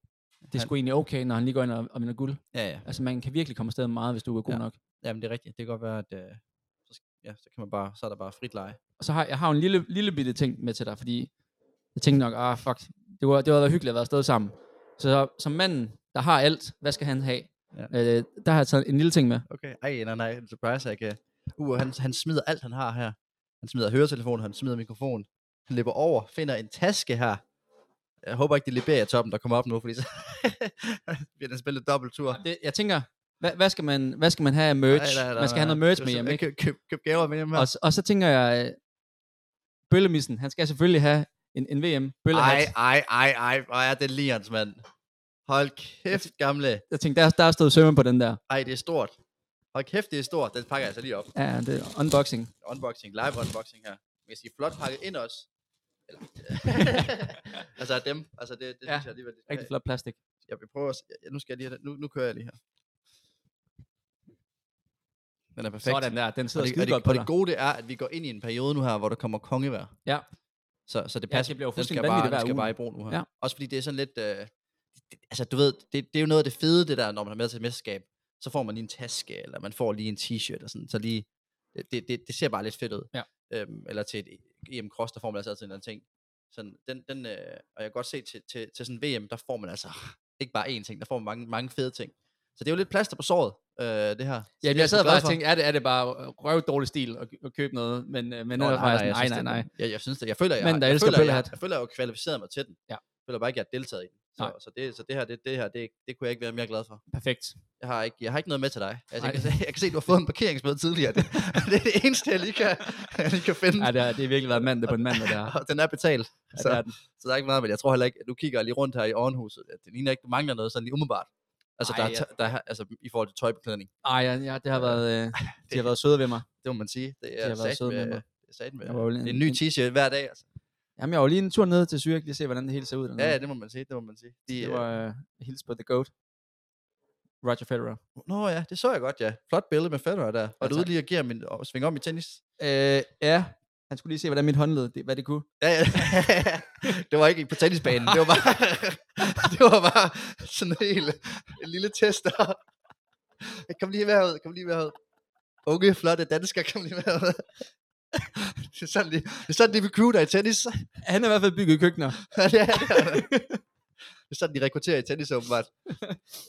Speaker 5: er
Speaker 4: Han-
Speaker 5: sgu egentlig okay, når han lige går ind og, og vinder guld.
Speaker 4: Ja, ja.
Speaker 5: Altså, man kan virkelig komme afsted med meget, hvis du er god
Speaker 4: Ja.
Speaker 5: ja. nok.
Speaker 4: Jamen, det er rigtigt. Det kan godt være, at øh, så, sk- ja, så, kan man bare, så er der bare frit leje.
Speaker 5: Og så har jeg har jo en lille, lille bitte ting med til dig, fordi jeg tænkte nok, ah fuck, det var, det var været hyggeligt at være afsted sammen. Så som manden, der har alt, hvad skal han have?
Speaker 4: Ja.
Speaker 5: Ja. Øh, der har jeg taget en lille ting med.
Speaker 4: Okay. Ej, nej, nej. en Surprise, jeg kan... Uh, han, han smider alt, han har her. Han smider høretelefon, han smider mikrofon. Han løber over, finder en taske her. Jeg håber ikke, det er Liberia-toppen, der kommer op nu, fordi så bliver den spillet dobbelttur. tur.
Speaker 5: Det, jeg tænker, hvad, hvad, skal man, hvad skal man have af merch? Nej, nej, nej, man skal have noget merch med hjem, ikke?
Speaker 4: Køb, køb, køb gaver med hjem her.
Speaker 5: Og, s- og så tænker jeg, øh, Bøllemissen, han skal selvfølgelig have en, en VM
Speaker 4: Ej,
Speaker 5: bøllehat.
Speaker 4: ej, ej, ej, hvor er det Lians, mand. Hold kæft, gamle.
Speaker 5: Jeg tænkte, der, der stod sømmen på den der.
Speaker 4: Ej, det er stort. Hold kæft, det er stort. Den pakker jeg altså lige op.
Speaker 5: Ja, det er unboxing.
Speaker 4: Unboxing, live unboxing her. Man kan sige, flot pakket ind også. Eller, altså af dem. Altså det, det
Speaker 5: Ja,
Speaker 4: synes jeg alligevel. det-
Speaker 5: Rigtig flot plastik.
Speaker 4: Jeg vil prøve at, s- ja, nu skal jeg lige have det. Nu, nu kører jeg lige her. Den er perfekt.
Speaker 5: Sådan der, den
Speaker 4: Og
Speaker 5: sidder
Speaker 4: det, og,
Speaker 5: skide
Speaker 4: det,
Speaker 5: godt
Speaker 4: og
Speaker 5: på
Speaker 4: det
Speaker 5: dig.
Speaker 4: gode det er, at vi går ind i en periode nu her, hvor der kommer kongevejr.
Speaker 5: Ja.
Speaker 4: Så, så det
Speaker 5: Ja,
Speaker 4: passer.
Speaker 5: det bliver jo
Speaker 4: den skal
Speaker 5: fuldstændig
Speaker 4: bare, den
Speaker 5: vanvittigt hver
Speaker 4: skal
Speaker 5: uge.
Speaker 4: bare i brug nu her.
Speaker 5: Ja.
Speaker 4: Også fordi det er sådan lidt... Øh, det, det- altså, du ved, det, det er jo noget af det fede, det der, når man er med til et mesterskab. Så får man lige en taske, eller man får lige en t-shirt, og sådan, så lige... Det, det- det, det ser bare lidt fedt ud.
Speaker 5: Ja.
Speaker 4: Øhm, eller til et EM Cross, der får man altså altid en eller anden ting. Sådan, den, den, øh, og jeg kan godt se, til, til, til sådan VM, der får man altså ikke bare én ting, der får man mange, mange fede ting. Så det er jo lidt plaster på såret, øh, det her. Så
Speaker 5: Ja,
Speaker 4: det er
Speaker 5: men jeg
Speaker 4: sgu
Speaker 5: sad
Speaker 4: glad
Speaker 5: bare
Speaker 4: for.
Speaker 5: og tænkte, er det, er det bare røv dårlig stil at, at købe noget? Men, øh, men
Speaker 4: Nå,
Speaker 5: Nå, nej, nej,
Speaker 4: jeg
Speaker 5: nej,
Speaker 4: synes,
Speaker 5: nej,
Speaker 4: det-
Speaker 5: nej.
Speaker 4: Jeg, jeg synes, det, jeg føler, jeg,
Speaker 5: Mænd,
Speaker 4: har-
Speaker 5: der
Speaker 4: jeg,
Speaker 5: elsker
Speaker 4: føler, jeg,
Speaker 5: bøllehat.
Speaker 4: har- jeg føler, jeg har kvalificeret mig til den.
Speaker 5: Ja.
Speaker 4: Jeg føler bare ikke, jeg har deltaget i den. Så,
Speaker 5: Nej.
Speaker 4: så, det, så det her, det, det, her det, det kunne jeg ikke være mere glad for.
Speaker 5: Perfekt.
Speaker 4: Jeg har ikke, jeg har ikke noget med til dig. Altså, jeg,
Speaker 5: Nej.
Speaker 4: kan, se- jeg kan se, du har fået en parkeringsbøde tidligere. Det, det er det eneste, jeg lige kan, jeg lige kan finde.
Speaker 5: Ja, det har det har virkelig været mandag på en mandag, det her.
Speaker 4: Og den er betalt.
Speaker 5: Ja,
Speaker 4: Så,
Speaker 5: det er den.
Speaker 4: så der er ikke meget, men jeg tror heller ikke, nu kigger jeg lige rundt her i ovenhuset. Det ligner ikke, du mangler noget sådan lige umiddelbart. Altså,
Speaker 5: Ej,
Speaker 4: der, er
Speaker 5: jeg-
Speaker 4: ta- der, er- altså i forhold til tøjbeklædning.
Speaker 5: Ej, ja, ja, det har været, øh, de har været søde ved mig.
Speaker 4: Det må man sige. Det
Speaker 5: har
Speaker 4: er
Speaker 5: været
Speaker 4: sat
Speaker 5: søde
Speaker 4: med,
Speaker 5: med mig.
Speaker 4: det er sat med.
Speaker 5: Jeg var jo lige
Speaker 4: Det er en
Speaker 5: en-
Speaker 4: ny
Speaker 5: en-
Speaker 4: t-shirt hver dag. Altså.
Speaker 5: Jamen, jeg var lige en tur ned til Zürich, lige at se, hvordan det hele ser ud.
Speaker 4: Ja, ja,
Speaker 5: det,
Speaker 4: det må man sige. Det må man sige. De,
Speaker 5: Mm. det
Speaker 4: øh,
Speaker 5: var øh, hils på The Goat. Roger Federer.
Speaker 4: Nå ja, det så jeg godt, ja. Flot billede med Federer der. Var
Speaker 5: Ja,
Speaker 4: ja, du ude
Speaker 5: tak.
Speaker 4: lige at give ham en og svinge om i tennis?
Speaker 5: Øh, ja, han skulle lige se, hvordan mit håndled, det, hvad det kunne.
Speaker 4: Ja, ja. det var ikke på tennisbanen, det var bare, det var bare sådan en, hel, en lille test. der. kom lige herud, kom lige herud. Unge, flotte danskere, kom lige herud. det er sådan, de, det er sådan, de recruiter i tennis.
Speaker 5: Han har i hvert fald bygget køkkener.
Speaker 4: ja, det, er, det. det er sådan, de rekrutterer i tennis, åbenbart.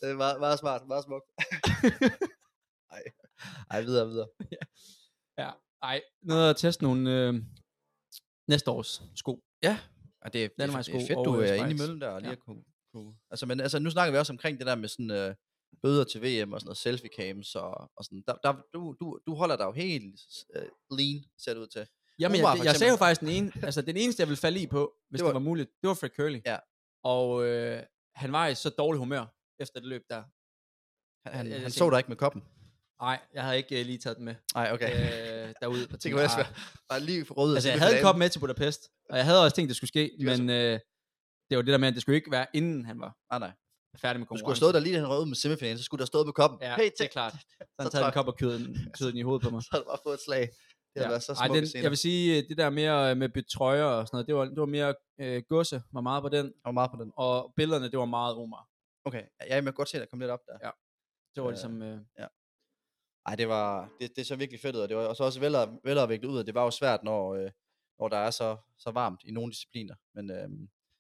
Speaker 4: Det er meget, meget smart, meget smukt. Ej, Ej videre, videre.
Speaker 5: Nej, noget at teste nogle øh, næste års sko.
Speaker 4: Og det, er, det, er, det
Speaker 5: Landevejssko
Speaker 4: er fedt,
Speaker 5: og,
Speaker 4: du
Speaker 5: øh,
Speaker 4: er inde i
Speaker 5: Schweiz.
Speaker 4: møllen der og lige
Speaker 5: Ja.
Speaker 4: ja. at kunne, kunne... Altså, men altså, nu snakker vi også omkring det der med sådan øh, bøder til VM og sådan noget selfie cams og, og sådan. Der, der, du, du, du holder dig jo helt øh, lean, ser det ud til.
Speaker 5: Jamen,
Speaker 4: Opera,
Speaker 5: jeg,
Speaker 4: for
Speaker 5: jeg sagde jo
Speaker 4: eksempel.
Speaker 5: faktisk den ene, altså den eneste, jeg ville falde i på,
Speaker 4: Det
Speaker 5: hvis det
Speaker 4: var-
Speaker 5: var, det var muligt, det var Fred Curly.
Speaker 4: Ja.
Speaker 5: Og øh, han var i så dårlig humør efter det løb der.
Speaker 4: Han, han,
Speaker 5: Ja, jeg
Speaker 4: han så
Speaker 5: tænker-
Speaker 4: dig ikke med koppen.
Speaker 5: Nej, jeg havde ikke øh, lige taget den med
Speaker 4: Nej, okay. Øh,
Speaker 5: øh, derude. Og
Speaker 4: det kan være
Speaker 5: "Ah."
Speaker 4: svært. Bare lige for rød.
Speaker 5: Altså, jeg havde en kop med til Budapest, og jeg havde også tænkt, det skulle ske,
Speaker 4: var
Speaker 5: men øh, det var det der med, at det skulle ikke være, inden han var
Speaker 4: Ah, Nej, nej.
Speaker 5: færdig med
Speaker 4: Du
Speaker 5: konkurrencen.
Speaker 4: skulle have stået der lige, da han rød med semifinalen, så skulle du have stået med koppen.
Speaker 5: Ja,
Speaker 4: hey,
Speaker 5: det
Speaker 4: tjek.
Speaker 5: er klart. Så
Speaker 4: Så
Speaker 5: han taget
Speaker 4: tror
Speaker 5: en kop og kød den, kød den i hovedet på mig.
Speaker 4: Så havde du bare fået et slag. Det havde været så
Speaker 5: Ej,
Speaker 4: smukt
Speaker 5: den,
Speaker 4: scener.
Speaker 5: jeg vil sige, øh, det der mere øh, med betrøjer og sådan noget, det var, det var mere øh, gosse, var meget på den,
Speaker 4: Jeg var meget på den.
Speaker 5: og billederne, det var meget Omar.
Speaker 4: Okay, ja, jamen, jeg kan godt se, at der kom lidt op der.
Speaker 5: Det var
Speaker 4: Øh,
Speaker 5: ligesom, øh,
Speaker 4: Ej, det var det, det så virkelig fedt ud, og det var også, også vel- velafviklet ud, og det var jo svært, når, øh, når der er så, så varmt i nogle discipliner. Men, øh,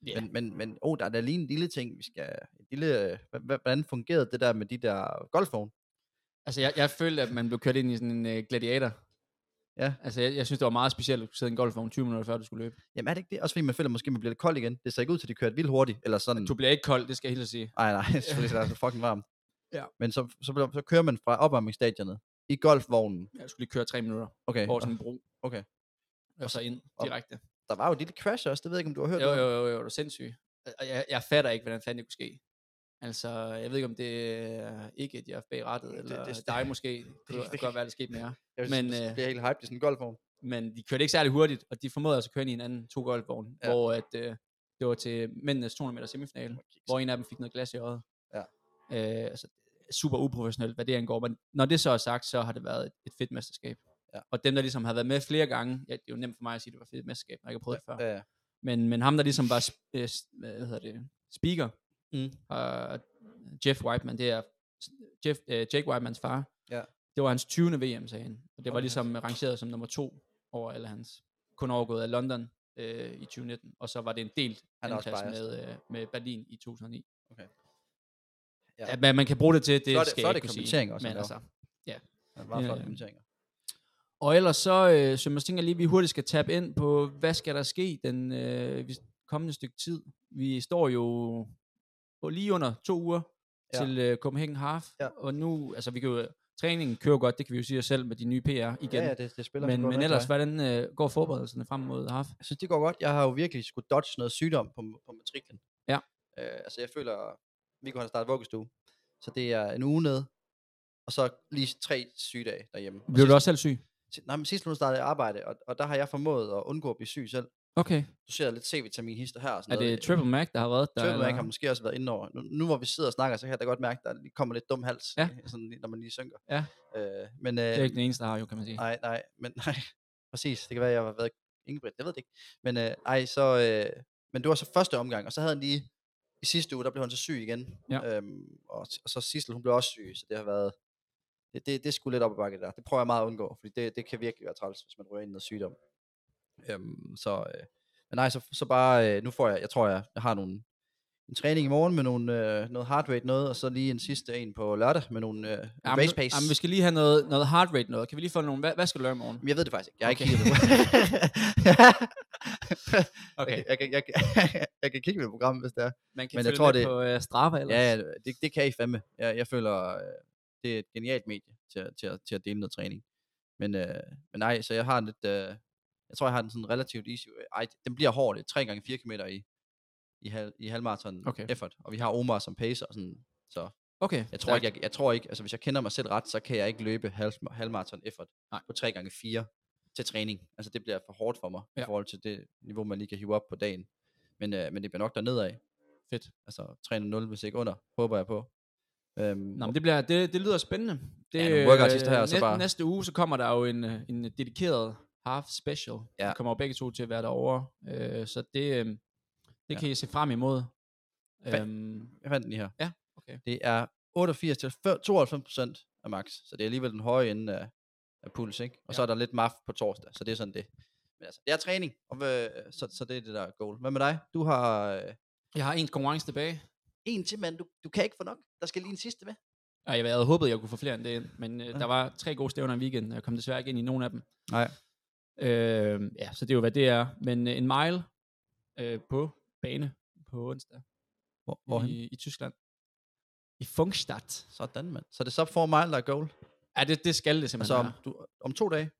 Speaker 5: Ja.
Speaker 4: yeah. men, men, men oh, der er da lige en lille ting, vi skal... En lille, øh, hva- hva- hvordan fungerede det der med de der golfvogne?
Speaker 5: altså jeg, jeg følte, at man blev kørt ind i sådan en øh, gladiator.
Speaker 4: Ja.
Speaker 5: Altså jeg, jeg synes, det var meget specielt, at du sidde i en golfvogn 20 minutter, før du skulle løbe.
Speaker 4: Jamen er det ikke det? Også fordi man føler, måske man bliver lidt kold igen. Det ser ikke ud til, at de kørte vildt hurtigt, eller sådan...
Speaker 5: Du bliver ikke kold, det skal jeg helt at sige.
Speaker 4: Ej, nej, selvfølgelig, det er så fucking varmt.
Speaker 5: Ja.
Speaker 4: Men så, så, bliver- så kører man fra opvarmningsstadionet i golfvognen.
Speaker 5: Jeg skulle lige køre 3 minutter
Speaker 4: Okay.
Speaker 5: over
Speaker 4: Og,
Speaker 5: sådan en bro.
Speaker 4: Okay.
Speaker 5: Og så ind
Speaker 4: og-
Speaker 5: direkte.
Speaker 4: der var jo et lille crash også, det ved jeg ikke, om du har hørt
Speaker 5: Jo,
Speaker 4: det.
Speaker 5: jo, jo, jo, du er sindssyg. Og jeg, jeg fatter ikke, hvordan fanden det kunne ske. Altså, jeg ved ikke, om det er ikke, at jeg er bag rettet, eller det,
Speaker 4: det-
Speaker 5: det, dig måske. Det,
Speaker 4: det-
Speaker 5: det, kan godt være, det skete med jer.
Speaker 4: Jeg
Speaker 5: men,
Speaker 4: men,
Speaker 5: øh,
Speaker 4: øh, bliver helt hyped i sådan en golfvogn.
Speaker 5: Men de kørte ikke særlig hurtigt, og de formåede altså at køre ind i hinanden to golfvogne,
Speaker 4: Ja.
Speaker 5: ja. hvor at, øh, det var til mændenes 200 meter semifinale, hvor en af dem fik noget glas i øjet.
Speaker 4: Ja.
Speaker 5: Øh, altså, super uprofessionelt, hvad det angår. Men når det så er sagt, så har det været et, et fedt mesterskab.
Speaker 4: Ja.
Speaker 5: Og dem, der ligesom har været med flere gange, ja, det er jo nemt for mig at sige, at det var et fedt mesterskab, når jeg ikke har prøvet det før.
Speaker 4: Ja, ja.
Speaker 5: Men, men ham, der ligesom var sp- øh, s- hvad hedder det, speaker,
Speaker 4: Mm.
Speaker 5: og Jeff Whiteman, det er Jeff, øh, Jake Whitemans far.
Speaker 4: Ja.
Speaker 5: Det var hans 20. VM, sagde han. Og det var
Speaker 4: Okay.
Speaker 5: ligesom rangeret som nummer to over alle hans. Kun overgået af London øh, i 2019, og så var det en delt
Speaker 4: Han er også
Speaker 5: andenplads
Speaker 4: biased.
Speaker 5: med, øh, med Berlin i 2009.
Speaker 4: Okay. Ja.
Speaker 5: Ja. At man, man kan bruge det til, det
Speaker 4: Flotte-
Speaker 5: skal jeg
Speaker 4: flotte
Speaker 5: ikke kunne
Speaker 4: kommentering
Speaker 5: sige.
Speaker 4: også, han
Speaker 5: men
Speaker 4: laver.
Speaker 5: altså,
Speaker 4: Ja, meget
Speaker 5: Ja,
Speaker 4: flotte
Speaker 5: ja.
Speaker 4: kommenteringer.
Speaker 5: Og ellers så, øh, så jeg tænker lige, at vi hurtigt skal tabe ind på, hvad skal der ske den øh, vis- kommende stykke tid. Vi står jo på lige under to uger
Speaker 4: Ja.
Speaker 5: ja. til øh, Copenhagen Half,
Speaker 4: Ja.
Speaker 5: ja. og nu, altså vi kan jo, træningen kører jo godt, det kan vi jo sige os selv med de nye PR igen.
Speaker 4: Ja, ja, det, det spiller sgu
Speaker 5: men
Speaker 4: godt
Speaker 5: men
Speaker 4: nok
Speaker 5: ellers,
Speaker 4: dig.
Speaker 5: hvordan øh, går forberedelserne frem mod Half?
Speaker 4: Jeg synes, det går godt. Jeg har jo virkelig skulle dodge noget sygdom på, på matriklen.
Speaker 5: Ja.
Speaker 4: Øh, altså, jeg føler, vi kunne have startet vuggestue. Så det er en uge nede, og så lige tre sygedage derhjemme. Og
Speaker 5: Blev du
Speaker 4: sidst-
Speaker 5: også selv syg?
Speaker 4: si- Nej, men sidste uge startede jeg arbejde, og, og der har jeg formået at undgå at blive syg selv.
Speaker 5: Okay.
Speaker 4: doseret lidt C-vitaminhister her og sådan
Speaker 5: Er
Speaker 4: noget. Øh,
Speaker 5: det Triple Mac, der har reddet dig?
Speaker 4: Triple Mac
Speaker 5: eller?
Speaker 4: har måske også været inde over. Nu, nu hvor vi sidder og snakker, så kan jeg da godt mærke, at der lige kommer lidt dum hals,
Speaker 5: Ja.
Speaker 4: øh, sådan, lige- når man lige synker.
Speaker 5: Ja.
Speaker 4: Øh, men,
Speaker 5: Det er
Speaker 4: øh,
Speaker 5: ikke den eneste, der har jo, kan man sige.
Speaker 4: nej, nej, men nej, præcis. Det kan være, at jeg har været Ingebridt, jeg ved det ikke. Men øh, ej, så, øh, men det var så første omgang, og så havde han lige, i sidste uge, der blev han så syg igen.
Speaker 5: Ja.
Speaker 4: Øhm, og, og, så Sissel, hun blev også syg, så det har været, det, det, det skulle lidt op ad bakke det der. Det prøver jeg meget at undgå, fordi det, det kan virkelig være træls, hvis man rører ind i noget sygdom. Øhm, så, øh, men nej, så, så bare, øh, nu får jeg, jeg tror, jeg, jeg har nogle, en træning i morgen med nogle, øh, noget heart rate noget, og så lige en sidste en på lørdag med nogle øh,
Speaker 5: Jamen,
Speaker 4: race pace.
Speaker 5: Jamen, vi skal lige have noget, noget heart rate noget. Kan vi lige få nogle... Hvad, hvad skal du lave i morgen?
Speaker 4: Men jeg ved det faktisk ikke. Jeg har okay.
Speaker 5: Okay.
Speaker 4: ikke kigget på
Speaker 5: Okay.
Speaker 4: okay. jeg, kan, jeg, kan, jeg kan kigge på programmet, hvis det er.
Speaker 5: Man kan
Speaker 4: men jeg
Speaker 5: følge
Speaker 4: tror,
Speaker 5: med
Speaker 4: det-
Speaker 5: på øh, Strava ellers.
Speaker 4: Ja, ja, det, det kan I fandme. Jeg, jeg føler, øh, det er et genialt medie til, at- til, at- til at dele noget træning. Men, øh, men nej, så jeg har lidt... Øh, jeg tror, jeg har den sådan relativt easy. Ej, den bliver hård. Det er 3 gange 4 km i, i, hal, i halvmarathon
Speaker 5: Okay.
Speaker 4: okay. effort. Og vi har Omar som pacer. og Sådan, så
Speaker 5: Okay.
Speaker 4: jeg tror, ikke, jeg, jeg tror ikke, altså hvis jeg kender mig selv ret, så kan jeg ikke løbe halv, halvmarathon effort
Speaker 5: Nej.
Speaker 4: på 3 gange 4 til træning. Altså det bliver for hårdt for mig ja.
Speaker 5: Ja.
Speaker 4: i forhold til det niveau, man lige kan hive op på dagen. Men, øh, men det bliver nok dernede af.
Speaker 5: Fedt.
Speaker 4: Altså 3-0, hvis ikke under, håber jeg på. Øhm,
Speaker 5: Nå,
Speaker 4: Nå,
Speaker 5: men det, bliver, det, det lyder spændende. Det,
Speaker 4: Ja, nogle workouts sidste her, og så
Speaker 5: næ-
Speaker 4: bare-
Speaker 5: Næste uge, så kommer der jo en, øh, en dedikeret half special.
Speaker 4: Ja.
Speaker 5: Ja. Vi kommer jo begge to til at være derovre. Øh, så det, øh, det
Speaker 4: Ja.
Speaker 5: kan I se frem imod.
Speaker 4: Fa-
Speaker 5: Øhm,
Speaker 4: jeg fandt den lige her.
Speaker 5: Ja, okay.
Speaker 4: Det er 88-92% af max, så det er alligevel den høje ende af, af puls, ikke? Og ja. så
Speaker 5: Ja.
Speaker 4: er der lidt maf på torsdag, så det er sådan det. Men altså, det er træning, og, øh, så, så det er det, der er goal. Hvad med dig? Du har... Øh,
Speaker 5: jeg har en konkurrence tilbage.
Speaker 4: en til, men du, du kan ikke få nok. Der skal lige en sidste med.
Speaker 5: Og jeg havde håbet, jeg kunne få flere end det ind, men øh, der var tre gode stævner i weekenden, og jeg kom desværre ikke ind i nogen af dem.
Speaker 4: Nej.
Speaker 5: Øh, ja, så det er jo, hvad det er. Men øh, en mile øh, på bane på onsdag
Speaker 4: Hvor,
Speaker 5: i, i Tyskland. I Funkstadt.
Speaker 4: Sådan, mand. Så det er så for mile, der er goal.
Speaker 5: Ja, det, det skal det
Speaker 4: Altså
Speaker 5: simpelthen
Speaker 4: om,
Speaker 5: være.
Speaker 4: du, om to dage.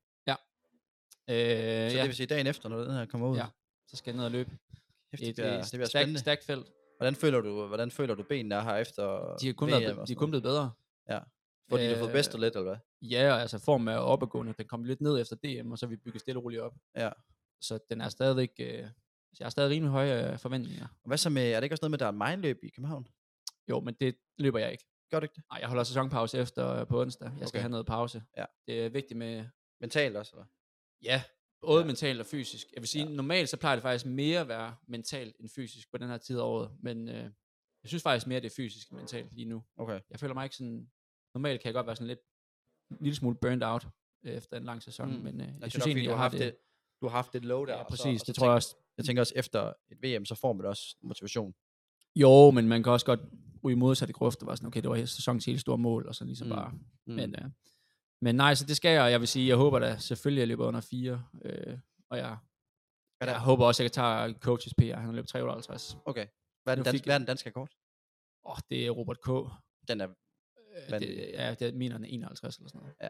Speaker 5: Øh,
Speaker 4: Så
Speaker 5: ja,
Speaker 4: det vil sige dagen efter, når den her kommer ud.
Speaker 5: Ja. så skal jeg ned og løbe.
Speaker 4: Kæft,
Speaker 5: Et,
Speaker 4: det, bliver,
Speaker 5: øh,
Speaker 4: det bliver
Speaker 5: stærkt-
Speaker 4: spændende.
Speaker 5: Stærkt felt.
Speaker 4: Hvordan føler du, hvordan føler du benene er her efter
Speaker 5: De er kun,
Speaker 4: VM
Speaker 5: været,
Speaker 4: og
Speaker 5: de er
Speaker 4: sådan
Speaker 5: kun
Speaker 4: noget?
Speaker 5: blevet bedre.
Speaker 4: Fordi du har fået
Speaker 5: øh,
Speaker 4: bedst lidt, eller hvad?
Speaker 5: Ja, og altså formen er opadgående. Den kom lidt ned efter DM, og så har vi bygget stille og roligt op.
Speaker 4: Ja.
Speaker 5: Så den er stadigvæk... Øh, altså, jeg har stadig rimelig høje øh, forventninger.
Speaker 4: Og hvad så med, er det ikke også noget med, at der er en løb i København?
Speaker 5: Jo, men det løber jeg ikke.
Speaker 4: Gør det ikke det?
Speaker 5: Nej, jeg holder sæsonpause efter øh, på onsdag.
Speaker 4: Okay.
Speaker 5: Jeg skal okay. have noget pause.
Speaker 4: Ja.
Speaker 5: Det er vigtigt med...
Speaker 4: Mentalt også, eller?
Speaker 5: Ja, både
Speaker 4: Ja.
Speaker 5: ja. mentalt og fysisk. Jeg vil sige, ja. normalt så plejer det faktisk mere at være mentalt end fysisk på den her tid af året. Men øh, jeg synes faktisk mere, det er fysisk end mentalt lige nu.
Speaker 4: Okay.
Speaker 5: jeg føler mig ikke sådan, normalt kan jeg godt være sådan lidt, en lille smule burned out øh, efter en lang sæson,
Speaker 4: Mm.
Speaker 5: mm. men øh,
Speaker 4: Det
Speaker 5: jeg
Speaker 4: er
Speaker 5: synes
Speaker 4: nok,
Speaker 5: egentlig,
Speaker 4: fordi du
Speaker 5: jeg
Speaker 4: har haft det, du har haft det low der.
Speaker 5: ja,
Speaker 4: og så-
Speaker 5: præcis,
Speaker 4: og så
Speaker 5: det tror jeg
Speaker 4: tænker-
Speaker 5: også.
Speaker 4: Jeg tænker også, efter et VM, så får man også motivation.
Speaker 5: Jo, men man kan også godt ryge modsat i grøft, og være sådan, okay, det var sæsonens helt store mål, og sådan ligesom
Speaker 4: Mm.
Speaker 5: mm. bare. Mm. Men, øh, men nej, så det skal jeg, og jeg vil sige, jeg håber da selvfølgelig, at jeg løber under 4, øh, og jeg,
Speaker 4: Er der-
Speaker 5: jeg håber også, at jeg kan tage coaches PR, han har løbet 358.
Speaker 4: Okay. Hvad er den,
Speaker 5: Nu
Speaker 4: danske,
Speaker 5: fik jeg-
Speaker 4: hvad er den danske kort?
Speaker 5: Åh, oh, det er Robert K.
Speaker 4: Den er,
Speaker 5: Øh,
Speaker 4: Vanvittigt.
Speaker 5: det, ja, det mener han er 51 eller sådan noget.
Speaker 4: Ja.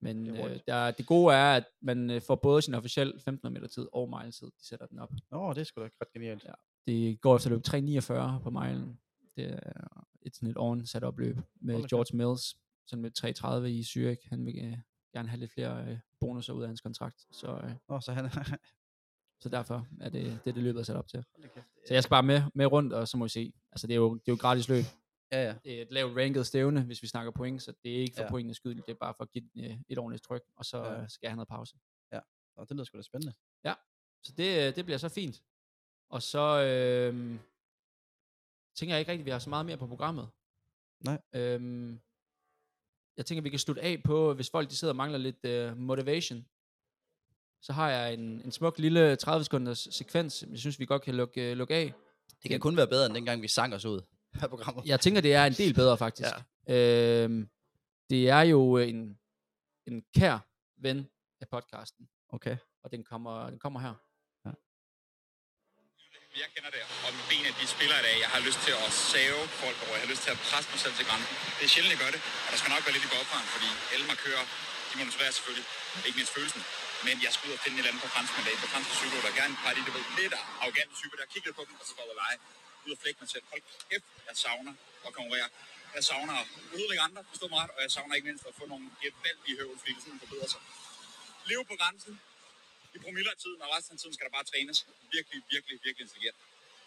Speaker 5: Men
Speaker 4: Det er
Speaker 5: det, øh,
Speaker 4: hurtigt.
Speaker 5: der, det gode er, at man øh, får både sin officielle 1500 meter tid og miletid. De sætter den op.
Speaker 4: åh, det er sgu da ret genialt.
Speaker 5: Det går efter løb 349 på milen. Det er et sådan et on sat op løb med
Speaker 4: Hold da
Speaker 5: George Mills, sådan med 330 i Zürich. Han vil øh, gerne have lidt flere øh, bonusser ud af hans kontrakt. Så, øh,
Speaker 4: Åh, så han
Speaker 5: så derfor er det det, er det løbet er sat op til.
Speaker 4: Hold da kæft.
Speaker 5: Så jeg skal bare med, med rundt, og så må vi se. Altså, det er jo, det er jo et gratis løb.
Speaker 4: Ja, ja.
Speaker 5: det er et lavt ranket stævne, hvis vi snakker point, så det er ikke for
Speaker 4: Ja.
Speaker 5: ja. pointenes skyld, det er bare for at give den øh, et ordentligt tryk, og så
Speaker 4: Ja.
Speaker 5: ja. skal jeg have noget pause.
Speaker 4: Nå, det lyder sgu da spændende.
Speaker 5: Så det, øh, det bliver så fint. Og så øh, tænker jeg ikke rigtigt, at vi har så meget mere på programmet.
Speaker 4: Nej.
Speaker 5: Øh, jeg tænker, vi kan slutte af på, hvis folk de sidder og mangler lidt øh, motivation, så har jeg en, en smuk lille 30 sekunders sekvens, som jeg synes, vi godt kan lukke, øh, lukke af.
Speaker 4: Det kan kun være bedre, end dengang vi sang os ud af programmet.
Speaker 5: Jeg tænker, det er en del bedre, faktisk. ja. øhm, det er jo øh, en, en kær ven af podcasten,
Speaker 4: Okay.
Speaker 5: og den kommer, den kommer her.
Speaker 7: Jeg kender det, og med ben af de spillere i dag, jeg har lyst til at save folk over, jeg har lyst til at presse mig selv til grænsen. Det er sjældent, jeg gør det, og der skal nok være lidt i golferen, fordi alle markører, de monitorerer selvfølgelig, ikke mindst følelsen. Men jeg skal ud og finde et eller andet på fransk mandat, på fransk psykolog, der er gerne et par af de, der ved lidt arrogante typer, der kigger på dem, og så går ud og lege, ud og flække mig selv. Hold kæft, jeg savner at konkurrere. Jeg savner at udlægge andre, forstå mig ret, og jeg savner ikke mindst at få nogle gevaldige høvelfri, sådan man forbedrer sig. Lev på grænsen, i i promiller af tiden, og resten af tiden skal der bare trænes virkelig, virkelig, virkelig intelligent.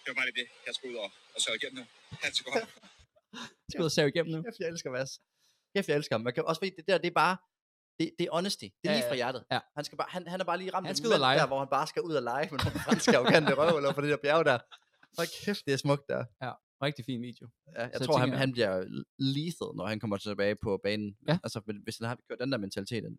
Speaker 7: Det var bare lige det, jeg skulle ud og, og sørge igennem nu. Ha' det så godt.
Speaker 4: Jeg skal ud og save igennem nu. Kæft, jeg elsker Mads. Kæft, jeg elsker ham. Man kan også fordi det der, det er bare, det, det er honesty. Det er
Speaker 5: Ja,
Speaker 4: lige
Speaker 5: ja,
Speaker 4: fra hjertet.
Speaker 5: ja.
Speaker 4: Han, skal bare, han, han er bare lige ramt
Speaker 5: Han
Speaker 4: et
Speaker 5: skal ud og
Speaker 4: moment
Speaker 5: lege.
Speaker 4: Der, hvor han bare skal ud og lege med nogle franske arrogante røvhuller på det der bjerg der. Hvor kæft, det er smukt der.
Speaker 5: Rigtig fin video.
Speaker 4: Ja, jeg
Speaker 5: Så
Speaker 4: tror, han,
Speaker 5: tænker jeg-
Speaker 4: han bliver lethal, når han kommer tilbage på banen.
Speaker 5: Ja.
Speaker 4: Altså, men hvis han har kørt den der mentalitet, ind,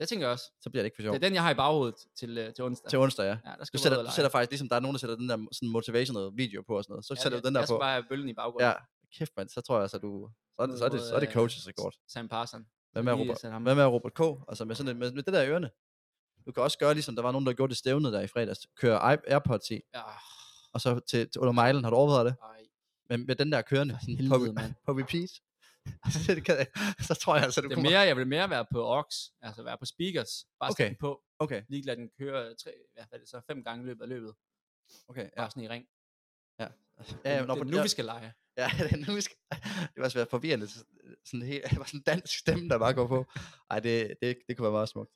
Speaker 5: Det tænker jeg også.
Speaker 4: så bliver det ikke for
Speaker 5: Det
Speaker 4: sjovt.
Speaker 5: er den, jeg har i baghovedet til, øh, til onsdag.
Speaker 4: Til onsdag, ja.
Speaker 5: Ja, der skal
Speaker 4: Du
Speaker 5: jeg
Speaker 4: sætter,
Speaker 5: ud og
Speaker 4: du
Speaker 5: lege.
Speaker 4: sætter faktisk, ligesom der er nogen, der sætter den der sådan motivational video på og sådan noget, så
Speaker 5: Ja,
Speaker 4: sætter
Speaker 5: ja,
Speaker 4: du den der
Speaker 5: jeg
Speaker 4: på.
Speaker 5: skal bare have bøllen i baggrunden.
Speaker 4: Ja, kæft mand, så tror jeg, så er du... Så er det, så er det, så er det
Speaker 5: Mod, øh,
Speaker 4: coaches rekord.
Speaker 5: Sam Parson.
Speaker 4: Hvad med,
Speaker 5: lige
Speaker 4: Robert,
Speaker 5: sætte ham-
Speaker 4: hvad med Robert K? Altså med, sådan et, med, med det der i ørerne. Du kan også gøre, ligesom der var nogen, der gjorde det stævnet der i fredags. Køre i- AirPods i,
Speaker 5: Ja,
Speaker 4: og så til, til under mejlen. Har du overvejet det?
Speaker 5: Ah, ej,
Speaker 4: Men med den der kørende
Speaker 5: for
Speaker 4: sådan på,
Speaker 5: helvede, mand.
Speaker 4: på repeat. Altså, det kan, så tror jeg altså, du
Speaker 5: Det er
Speaker 4: kommer...
Speaker 5: mere, jeg vil mere være på aux, altså være på speakers. Bare okay.
Speaker 4: Okay.
Speaker 5: den på,
Speaker 4: Okay,
Speaker 5: lige lade den køre tre, hvad er det så, fem gange i løbet af løbet.
Speaker 4: okay. Ja,
Speaker 5: Bare sådan i ring.
Speaker 4: ja, ja,
Speaker 5: det,
Speaker 4: når,
Speaker 5: det,
Speaker 4: på-
Speaker 5: er nu,
Speaker 4: ja,
Speaker 5: vi skal lege.
Speaker 4: Ja, det er nu vi skal... Det var svært forvirrende. så- Sådan helt, det var sådan en dansk stemme, der bare går på. Ej, det, det, det kunne være meget smukt.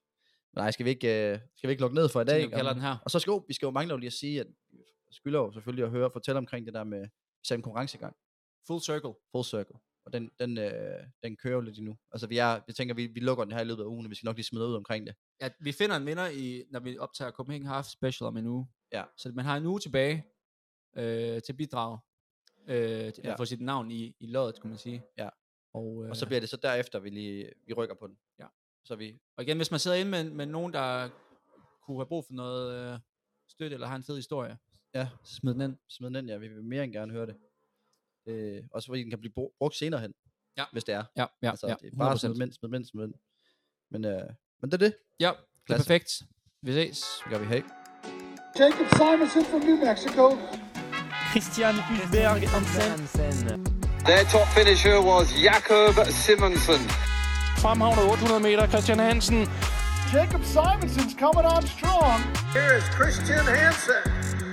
Speaker 4: Men nej, skal vi ikke, øh, skal vi ikke lukke ned for i
Speaker 5: Sådan,
Speaker 4: dag?
Speaker 5: jeg kalder
Speaker 4: Om-
Speaker 5: den her.
Speaker 4: Og så skal jo, vi skal jo mangle jo lige at sige, at vi skylder jo selvfølgelig at høre og fortælle omkring det der med især en konkurrencegang,
Speaker 5: Full circle.
Speaker 4: full circle. Og den, den, øh, den kører jo lidt endnu. Altså vi er, jeg tænker, vi, vi lukker den her i løbet af ugen, og vi skal nok lige smide ud omkring det.
Speaker 5: Ja, vi finder en vinder, i, når vi optager Copenhagen Half Special om en uge.
Speaker 4: Ja.
Speaker 5: Så man har en uge tilbage øh, til bidrag. Øh, til,
Speaker 4: Ja.
Speaker 5: ja. Få sit navn i, i loddet, kan man sige.
Speaker 4: Ja.
Speaker 5: Og, øh,
Speaker 4: Og så bliver det så derefter, vi lige vi rykker på den.
Speaker 5: Ja.
Speaker 4: Så vi,
Speaker 5: Og igen, hvis man sidder inde med, med nogen, der kunne have brug for noget øh, støtte, eller har en fed historie,
Speaker 4: Ja.
Speaker 5: så smid den ind.
Speaker 4: smid den ind, ja, vi vil mere end gerne høre det. Øh, også fordi den kan blive bru- brugt senere hen,
Speaker 5: Ja.
Speaker 4: hvis det er.
Speaker 5: Ja, ja,
Speaker 4: altså,
Speaker 5: ja.
Speaker 4: det er bare
Speaker 5: 100%.
Speaker 4: smid den, ind, smid den, ind, smid den. ind. Men, øh, men det er det.
Speaker 5: Ja, det er
Speaker 4: Klasse.
Speaker 5: perfekt. Vi ses.
Speaker 4: Det gør vi her.
Speaker 1: Jacob Simonson from New Mexico.
Speaker 2: Christian Hulberg Hansen
Speaker 3: Their top finisher was Jakob Simonsen.
Speaker 2: fremhavner 800 meter, Christian Hansen
Speaker 1: Jacob Simonson's coming on strong.
Speaker 8: Here is Christian Hansen.